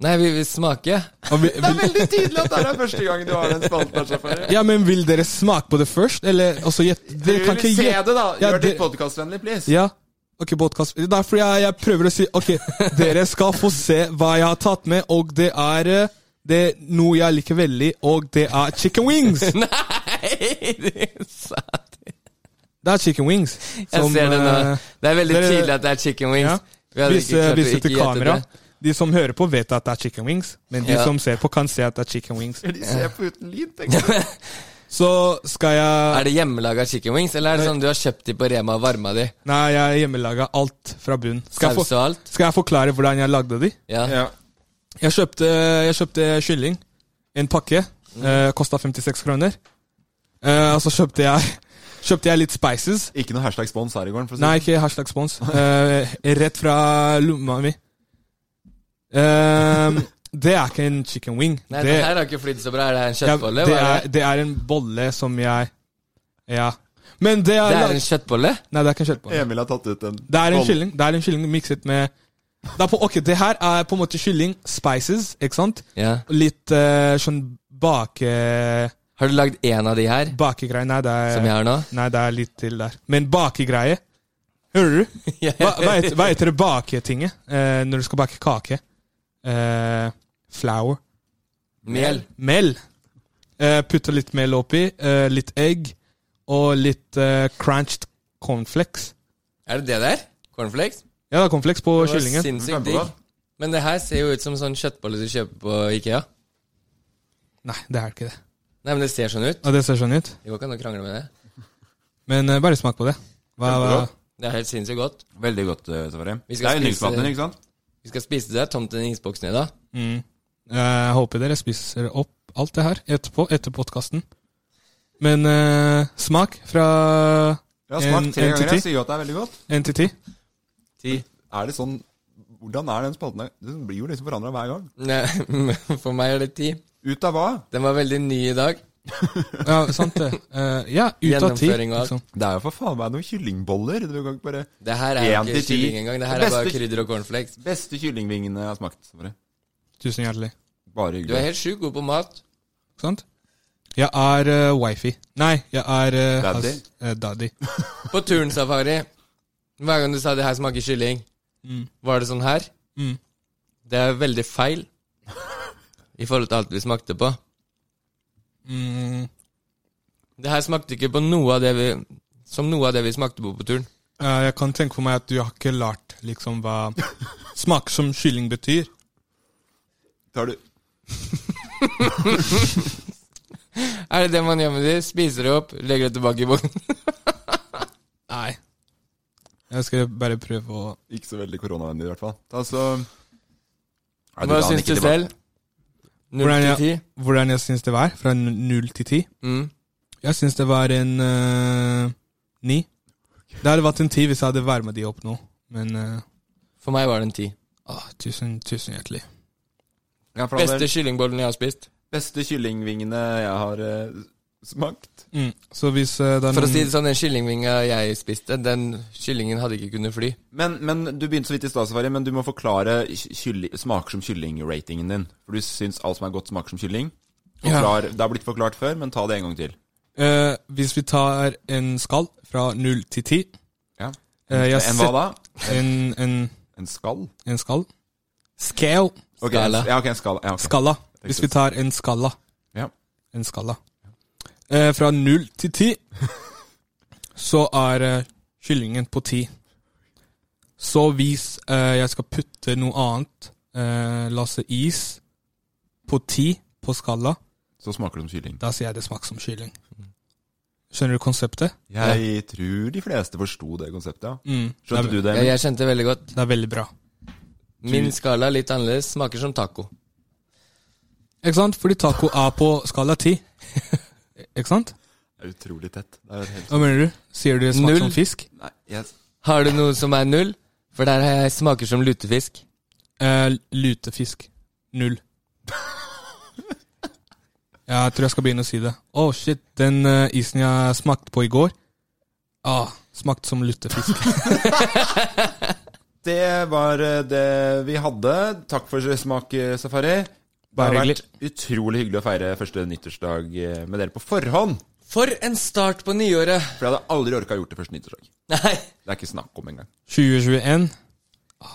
[SPEAKER 9] Nei, vi vil smake.
[SPEAKER 8] Det er
[SPEAKER 7] veldig tydelig at det er første gang du har den spalten. Safari.
[SPEAKER 8] Ja, men vil dere smake på det først, eller og så gjette?
[SPEAKER 7] Vi
[SPEAKER 8] Dere kan
[SPEAKER 7] vil
[SPEAKER 8] ikke
[SPEAKER 7] se
[SPEAKER 8] gjette.
[SPEAKER 7] det, da.
[SPEAKER 8] Ja,
[SPEAKER 7] Gjør det
[SPEAKER 8] dere-
[SPEAKER 7] litt podkastvennlig, please.
[SPEAKER 8] Ja. Ok, podcast. Det er derfor jeg, jeg prøver å si Ok, dere skal få se hva jeg har tatt med, og det er eh, det er noe jeg liker veldig, og det er chicken wings!
[SPEAKER 9] Nei, det sa du.
[SPEAKER 8] Det er chicken wings.
[SPEAKER 9] Jeg
[SPEAKER 8] som,
[SPEAKER 9] ser det nå.
[SPEAKER 8] eh,
[SPEAKER 9] Det er veldig
[SPEAKER 8] dere-
[SPEAKER 9] tydelig at det er chicken wings.
[SPEAKER 8] Ja.
[SPEAKER 9] Vi hadde ikke
[SPEAKER 8] Vise,
[SPEAKER 9] klart å
[SPEAKER 8] vise
[SPEAKER 9] ikke
[SPEAKER 8] til
[SPEAKER 9] gjette
[SPEAKER 8] kamera.
[SPEAKER 9] det.
[SPEAKER 8] De som hører på, vet at det er chicken wings, men de
[SPEAKER 9] Ja.
[SPEAKER 8] som ser på, kan se at det er chicken wings.
[SPEAKER 7] De ser på uten lyd, tenker jeg.
[SPEAKER 8] Så skal jeg
[SPEAKER 9] Er det hjemmelaga chicken wings, eller er det sånn du har kjøpt de på Rema og varma de?
[SPEAKER 8] Nei, jeg er hjemmelaga alt fra bunn. Skal, jeg
[SPEAKER 9] Saus og
[SPEAKER 8] få-
[SPEAKER 9] alt?
[SPEAKER 8] skal jeg forklare hvordan jeg lagde de?
[SPEAKER 9] Ja.
[SPEAKER 8] Jeg kjøpte, jeg kjøpte kylling. En pakke.
[SPEAKER 9] Mm.
[SPEAKER 8] Eh, Kosta 56 kroner. Eh, og så kjøpte jeg, kjøpte jeg litt spices.
[SPEAKER 7] Ikke noe hashtag spons her i gården. For å si.
[SPEAKER 8] Nei, ikke hashtag spons. Eh, rett fra lomma mi. Eh, det er ikke en chicken wing.
[SPEAKER 9] Nei, det, her har ikke flydd så bra. Er det her en
[SPEAKER 8] ja,
[SPEAKER 9] kjøttbolle?
[SPEAKER 8] det,
[SPEAKER 9] Hva
[SPEAKER 8] er, det er en bolle som jeg Ja. Men det er,
[SPEAKER 9] Det er en kjøttbolle?
[SPEAKER 8] Nei, det er ikke en kjøttbolle.
[SPEAKER 7] sånn. Emil har tatt ut en
[SPEAKER 8] Det er en
[SPEAKER 7] bolle.
[SPEAKER 8] kylling Det er en kylling mikset med det er på, Ok, det her er på en måte kylling Spices, ikke sant?
[SPEAKER 9] Ja.
[SPEAKER 8] Litt eh, sånn bake
[SPEAKER 9] Har du lagd én av de her?
[SPEAKER 8] Bakegreie Nei, det er
[SPEAKER 9] Som jeg har nå?
[SPEAKER 8] Nei, det er litt til der Men bakegreie Hører du? Hva, hva, heter, hva heter det baketinget eh, når du skal bake kake? Eh, flour
[SPEAKER 9] Mel.
[SPEAKER 8] Mel eh, Putter litt mel oppi eh, Litt egg Og litt eh, crunched cornflakes
[SPEAKER 9] Er det det der? Cornflakes?
[SPEAKER 8] Ja, det er cornflakes på
[SPEAKER 9] Det var
[SPEAKER 8] kyllingen
[SPEAKER 9] Sinnssykt digg. Men det her ser jo ut som sånn kjøttbolle du kjøper på Ikea.
[SPEAKER 8] Nei, det er ikke det
[SPEAKER 9] Nei, men det ser sånn ut.
[SPEAKER 8] Ja, det ser sånn ut.
[SPEAKER 9] Det går ikke an å krangle med det.
[SPEAKER 8] Men eh, bare smak på det. Hva, hva?
[SPEAKER 9] Det er helt sinnssykt godt.
[SPEAKER 7] Veldig godt, eh, Safari.
[SPEAKER 9] Vi
[SPEAKER 7] Det
[SPEAKER 9] skal
[SPEAKER 7] er
[SPEAKER 9] spise-
[SPEAKER 7] yndlingsmaten din, ikke sant?
[SPEAKER 9] Vi skal spise det tomt i isboksen i dag.
[SPEAKER 8] Mm. Eh, Jeg håper dere spiser opp alt det her etterpå, etter podkasten. Men eh, smak fra
[SPEAKER 7] Jeg har smakt tre
[SPEAKER 8] en
[SPEAKER 7] ganger. Jeg sier jo at det er veldig godt.
[SPEAKER 8] En til ti.
[SPEAKER 7] Er det sånn Hvordan er den spalten? her? Den blir jo liksom forandra hver gang.
[SPEAKER 9] Nei, For meg er det ti.
[SPEAKER 7] Ut av hva?
[SPEAKER 9] Den var veldig ny i dag.
[SPEAKER 8] Ja, sant det. Eh, ja, ut av ti.
[SPEAKER 9] Gjennomføring og alt.
[SPEAKER 8] Liksom.
[SPEAKER 7] Det er jo for faen meg noen kyllingboller. Du kan ikke bare
[SPEAKER 9] Det her er jo
[SPEAKER 7] En
[SPEAKER 9] ikke
[SPEAKER 7] til ti.
[SPEAKER 9] kylling engang. Det her
[SPEAKER 7] Beste-
[SPEAKER 9] er bare krydder og cornflakes.
[SPEAKER 7] Beste kyllingvingene jeg har smakt. Safari.
[SPEAKER 8] Tusen hjertelig.
[SPEAKER 7] Bare
[SPEAKER 9] Du er
[SPEAKER 7] hyggelig.
[SPEAKER 9] helt sjukt god på mat.
[SPEAKER 8] Ikke sant? Jeg er eh, wifi. Nei, jeg er eh,
[SPEAKER 7] Daddy?
[SPEAKER 8] has- eh, daddy.
[SPEAKER 9] På turnsafari, hver gang du sa det her smaker kylling,
[SPEAKER 8] Mm.
[SPEAKER 9] var det sånn her?
[SPEAKER 8] Mm.
[SPEAKER 9] Det er veldig feil i forhold til alt vi smakte på.
[SPEAKER 8] Mm.
[SPEAKER 9] Det her smakte ikke på noe av det vi som noe av det vi smakte på på turen.
[SPEAKER 8] Eh, jeg kan tenke for meg at du har ikke lært liksom hva smak som kylling betyr.
[SPEAKER 7] Tar du
[SPEAKER 9] Er det det man gjør med de? Spiser det opp, legger det tilbake i vognen?
[SPEAKER 8] Nei. Jeg skal bare prøve å
[SPEAKER 7] Ikke så veldig koronavennlig, i hvert fall. Ta så Nei,
[SPEAKER 9] Hva
[SPEAKER 7] kan
[SPEAKER 9] syns
[SPEAKER 7] ikke
[SPEAKER 9] du
[SPEAKER 7] tilbake.
[SPEAKER 9] selv? Null
[SPEAKER 8] Hvordan
[SPEAKER 9] til ti?
[SPEAKER 8] jeg, hvordan jeg syns det var? Fra nu- null til ti?
[SPEAKER 9] Mm.
[SPEAKER 8] Jeg syns det var en øh, ni. Det hadde vært en ti hvis jeg hadde varma de opp nå, men øh,
[SPEAKER 9] For meg var det en ti.
[SPEAKER 8] ah, tusen, tusen hjertelig.
[SPEAKER 7] Ja, for all del.
[SPEAKER 9] Beste kyllingbollen jeg har spist.
[SPEAKER 7] Beste kyllingvingene jeg har eh, smakt.
[SPEAKER 8] Mm. Så hvis øh, det er
[SPEAKER 9] For å
[SPEAKER 8] noen-
[SPEAKER 9] si det sånn, den kyllingvinga jeg spiste, den kyllingen hadde ikke kunnet fly.
[SPEAKER 7] Men, men du begynte så vidt i stad, Safari, men du må forklare ky- kylli- smaker som kylling-ratingen din. For du syns alt som er godt, smaker som kylling. Forklar, Det har blitt forklart før, men ta det en gang til.
[SPEAKER 8] øh, Hvis vi tar en skall fra null til ti
[SPEAKER 7] Ja.
[SPEAKER 8] øh, jeg
[SPEAKER 7] en
[SPEAKER 8] set-
[SPEAKER 7] hva da?
[SPEAKER 8] En, en,
[SPEAKER 7] En skall?
[SPEAKER 8] en skall. Scale.
[SPEAKER 7] Ok,
[SPEAKER 9] Skala.
[SPEAKER 7] En, ja, ok, en skala. Ja, ok.
[SPEAKER 8] Skalla. Hvis vi tar en skalla.
[SPEAKER 7] Ja.
[SPEAKER 8] En skalla. Eh, fra null til ti, så er eh, kyllingen på ti. Så hvis eh, jeg skal putte noe annet, eh, la oss si is, på ti på skalla,
[SPEAKER 7] Så smaker det som kylling.
[SPEAKER 8] da sier jeg det smaker som kylling. Skjønner du konseptet?
[SPEAKER 7] Jeg tror de fleste forsto det konseptet. ja.
[SPEAKER 8] Mm.
[SPEAKER 7] Skjønte
[SPEAKER 8] det,
[SPEAKER 7] du
[SPEAKER 8] er,
[SPEAKER 7] det?
[SPEAKER 9] Jeg,
[SPEAKER 7] Emil?
[SPEAKER 9] jeg kjente det veldig godt.
[SPEAKER 8] det er veldig bra.
[SPEAKER 9] Min skala er litt annerledes. Smaker som taco.
[SPEAKER 8] Ikke sant? Fordi taco er på skala ti. Ikke sant?
[SPEAKER 7] Det er utrolig tett. Det er helt...
[SPEAKER 8] Hva mener du? Sier du det smaker
[SPEAKER 9] Null.
[SPEAKER 8] som fisk?
[SPEAKER 7] Nei, jeg
[SPEAKER 9] Har du noe som er null? For der har jeg smaker som lutefisk.
[SPEAKER 8] Eh, lutefisk. Null. Jeg tror jeg skal begynne å si det. Å, shit, den eh, isen jeg smakte på i går ah, Smakte som lutefisk.
[SPEAKER 7] Det var eh, det vi hadde. Takk for smak, eh, Safari. Det har
[SPEAKER 8] Bare
[SPEAKER 7] vært utrolig hyggelig å feire første nyttårsdag eh, med dere på forhånd.
[SPEAKER 9] For en start på nyåret.
[SPEAKER 7] For jeg hadde aldri orka gjort det første nyttårsdag.
[SPEAKER 9] Nei.
[SPEAKER 7] Det er ikke snakk om engang.
[SPEAKER 8] 2021.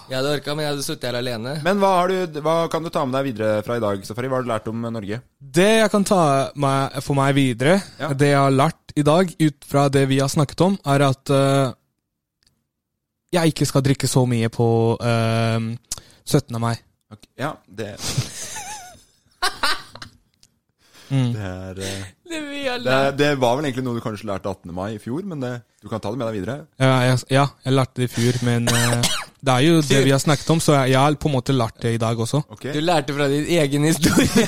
[SPEAKER 9] Jeg hadde orka, men jeg hadde sittet her alene.
[SPEAKER 7] Men hva, har du, hva kan du ta med deg videre fra i dag, Safari? Hva har du lært om eh, Norge?
[SPEAKER 8] Det jeg kan ta meg, for meg videre,
[SPEAKER 7] Ja.
[SPEAKER 8] det jeg har lært i dag ut fra det vi har snakket om, er at eh, jeg ikke skal drikke så mye på eh, 17. mai.
[SPEAKER 7] Ja, det Det er eh,
[SPEAKER 9] Det vi har
[SPEAKER 7] det, er- det var vel egentlig noe du kanskje lærte 18. mai i fjor, men det, du kan ta det med deg videre.
[SPEAKER 8] Ja, jeg, ja, jeg lærte det i fjor, men eh, det er jo det vi har snakket om, så jeg, jeg har på en måte lært det i dag også.
[SPEAKER 9] Du lærte fra din egen historie.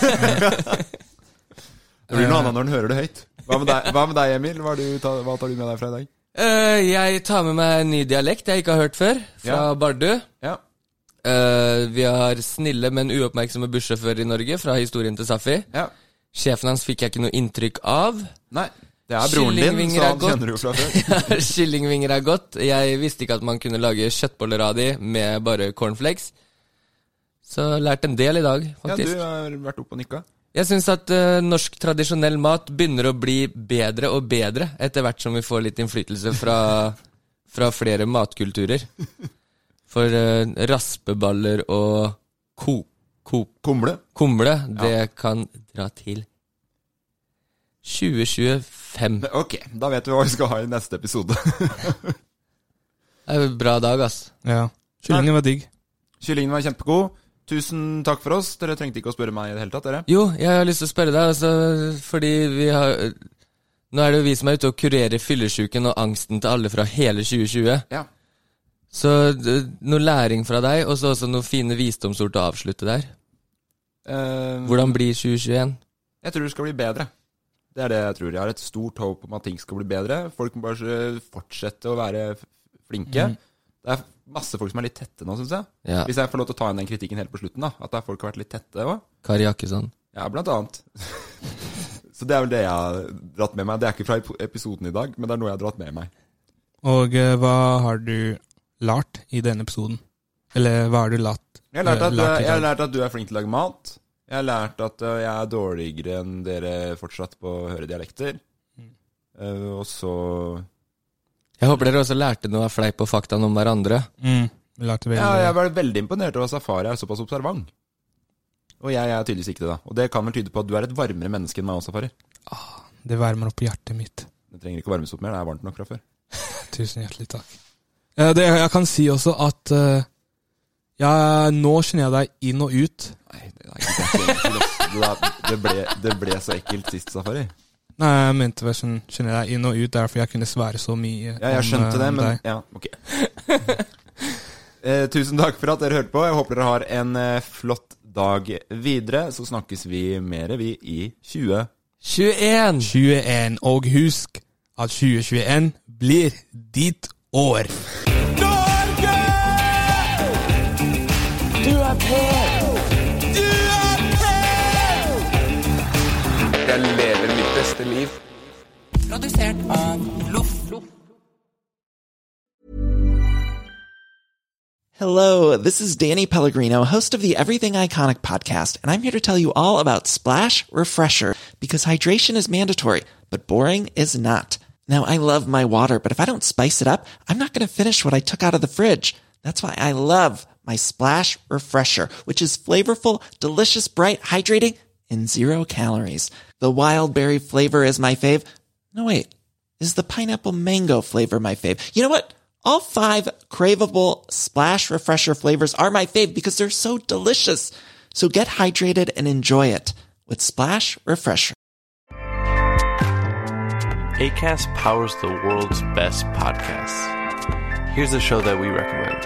[SPEAKER 7] Det blir noe annet når den hører det høyt. Hva med deg, hva med deg Emil? Hva, har du, ta- hva tar du med deg fra i dag?
[SPEAKER 9] Eh, jeg tar med meg en ny dialekt jeg ikke har hørt før, fra
[SPEAKER 7] Ja.
[SPEAKER 9] Bardu.
[SPEAKER 7] Ja.
[SPEAKER 9] Eh, vi har snille, men uoppmerksomme bussjåfører i Norge, fra historien til Safi. Sjefen hans fikk jeg ikke noe inntrykk av.
[SPEAKER 7] Nei, det er broren din, så han kjenner du jo fra før.
[SPEAKER 9] Ja, Kyllingvinger er godt. Jeg visste ikke at man kunne lage kjøttboller av de med bare cornflakes. Så lært en del i dag,
[SPEAKER 7] Ja, du
[SPEAKER 9] faktisk.
[SPEAKER 7] har vært oppe og nikka.
[SPEAKER 9] Jeg syns at eh, norsk tradisjonell mat begynner å bli bedre og bedre etter hvert som vi får litt innflytelse fra, fra flere matkulturer. For eh, raspeballer og ko, ko,
[SPEAKER 7] kumle,
[SPEAKER 9] det kan dra til 2025.
[SPEAKER 7] Ok, da vet vi hva vi skal ha i neste episode.
[SPEAKER 9] Det er en bra dag, ass.
[SPEAKER 8] Ja. Kyllingen var digg.
[SPEAKER 7] Kyllingen var kjempegod. Tusen takk for oss. Dere trengte ikke å spørre meg i det hele tatt, dere.
[SPEAKER 9] Jo, jeg har lyst til å spørre deg, altså, fordi vi har Nå er det jo vi som er ute og kurerer fyllesyken og angsten til alle fra hele 2020.
[SPEAKER 7] Ja.
[SPEAKER 9] Så d- noe læring fra deg, og så også noen fine visdomsord til å avslutte der.
[SPEAKER 7] Eh,
[SPEAKER 9] Hvordan blir 2021?
[SPEAKER 7] Jeg tror det skal bli bedre. Det er det jeg tror. Jeg har et stort håp om at ting skal bli bedre. Folk må bare fortsette å være f- flinke.
[SPEAKER 9] Mhm.
[SPEAKER 7] Det er masse folk som er litt tette nå, syns jeg.
[SPEAKER 9] Ja.
[SPEAKER 7] Hvis jeg får lov til å ta inn den kritikken helt på slutten, da. At det er folk som har vært litt tette òg.
[SPEAKER 9] Kari Jakkesson.
[SPEAKER 7] Ja, blant annet. Så det er vel det jeg har dratt med meg. Det er ikke fra ep- episoden i dag, men det er noe jeg har dratt med meg.
[SPEAKER 8] Og eh, hva har du lært i denne episoden? Eller hva har du lært?
[SPEAKER 7] Jeg har lært
[SPEAKER 8] eh,
[SPEAKER 7] at,
[SPEAKER 8] i
[SPEAKER 7] jeg har
[SPEAKER 8] dag?
[SPEAKER 7] lært at du er flink til å lage mat. Jeg har lært at øh, jeg er dårligere enn dere fortsatt på å høre dialekter. Eh, og så
[SPEAKER 9] Jeg håper dere også lærte noe av fleip og fakta om hverandre.
[SPEAKER 8] Mm, vi lærte veldig
[SPEAKER 7] ja, Jeg var veldig imponert over at Safari er såpass observant. Og jeg, er tydeligvis ikke det, da. Og det kan vel tyde på at du er et varmere menneske enn meg også, Safari.
[SPEAKER 8] eh, Det varmer opp hjertet mitt.
[SPEAKER 7] Det trenger ikke å varmes opp mer, det er varmt nok fra før.
[SPEAKER 8] Tusen hjertelig takk. Eh, Det jeg kan si også at eh, ja, nå kjenner jeg deg inn og ut.
[SPEAKER 7] Det, det, ble, det ble så ekkelt sist, Safari.
[SPEAKER 8] Nei, jeg mente vel sånn, kjenner jeg deg inn og ut, derfor jeg kunne svære så mye
[SPEAKER 7] Ja, jeg skjønte
[SPEAKER 8] eh,
[SPEAKER 7] det, men ja, ok. Eh, tusen takk for at dere hørte på. Jeg håper dere har en eh, flott dag videre. Så snakkes vi mer, vi, i 20...
[SPEAKER 9] 21!
[SPEAKER 8] 21, og husk at 2021 blir ditt år.
[SPEAKER 3] Du er pen.
[SPEAKER 5] Du er pen!
[SPEAKER 6] Jeg lever mitt beste liv.
[SPEAKER 3] Produsert av Loff.
[SPEAKER 11] Hello, this is Danny Pellegrino, host of the Everything Iconic podcast, and I'm here to tell you all about Splash Refresher because hydration is mandatory, but boring is not. Now, I love my water, but if I don't spice it up, I'm not going to finish what I took out of the fridge. That's why I love my Splash Refresher, which is flavorful, delicious, bright, hydrating, and zero calories. The wild berry flavor is my fave. No, wait. Is the pineapple mango flavor my fave? You know what? All five craveable splash refresher flavors are my fave because they're so delicious. So get hydrated and enjoy it with Splash Refresher.
[SPEAKER 15] ACAST powers the world's best podcasts. Here's a show that we recommend.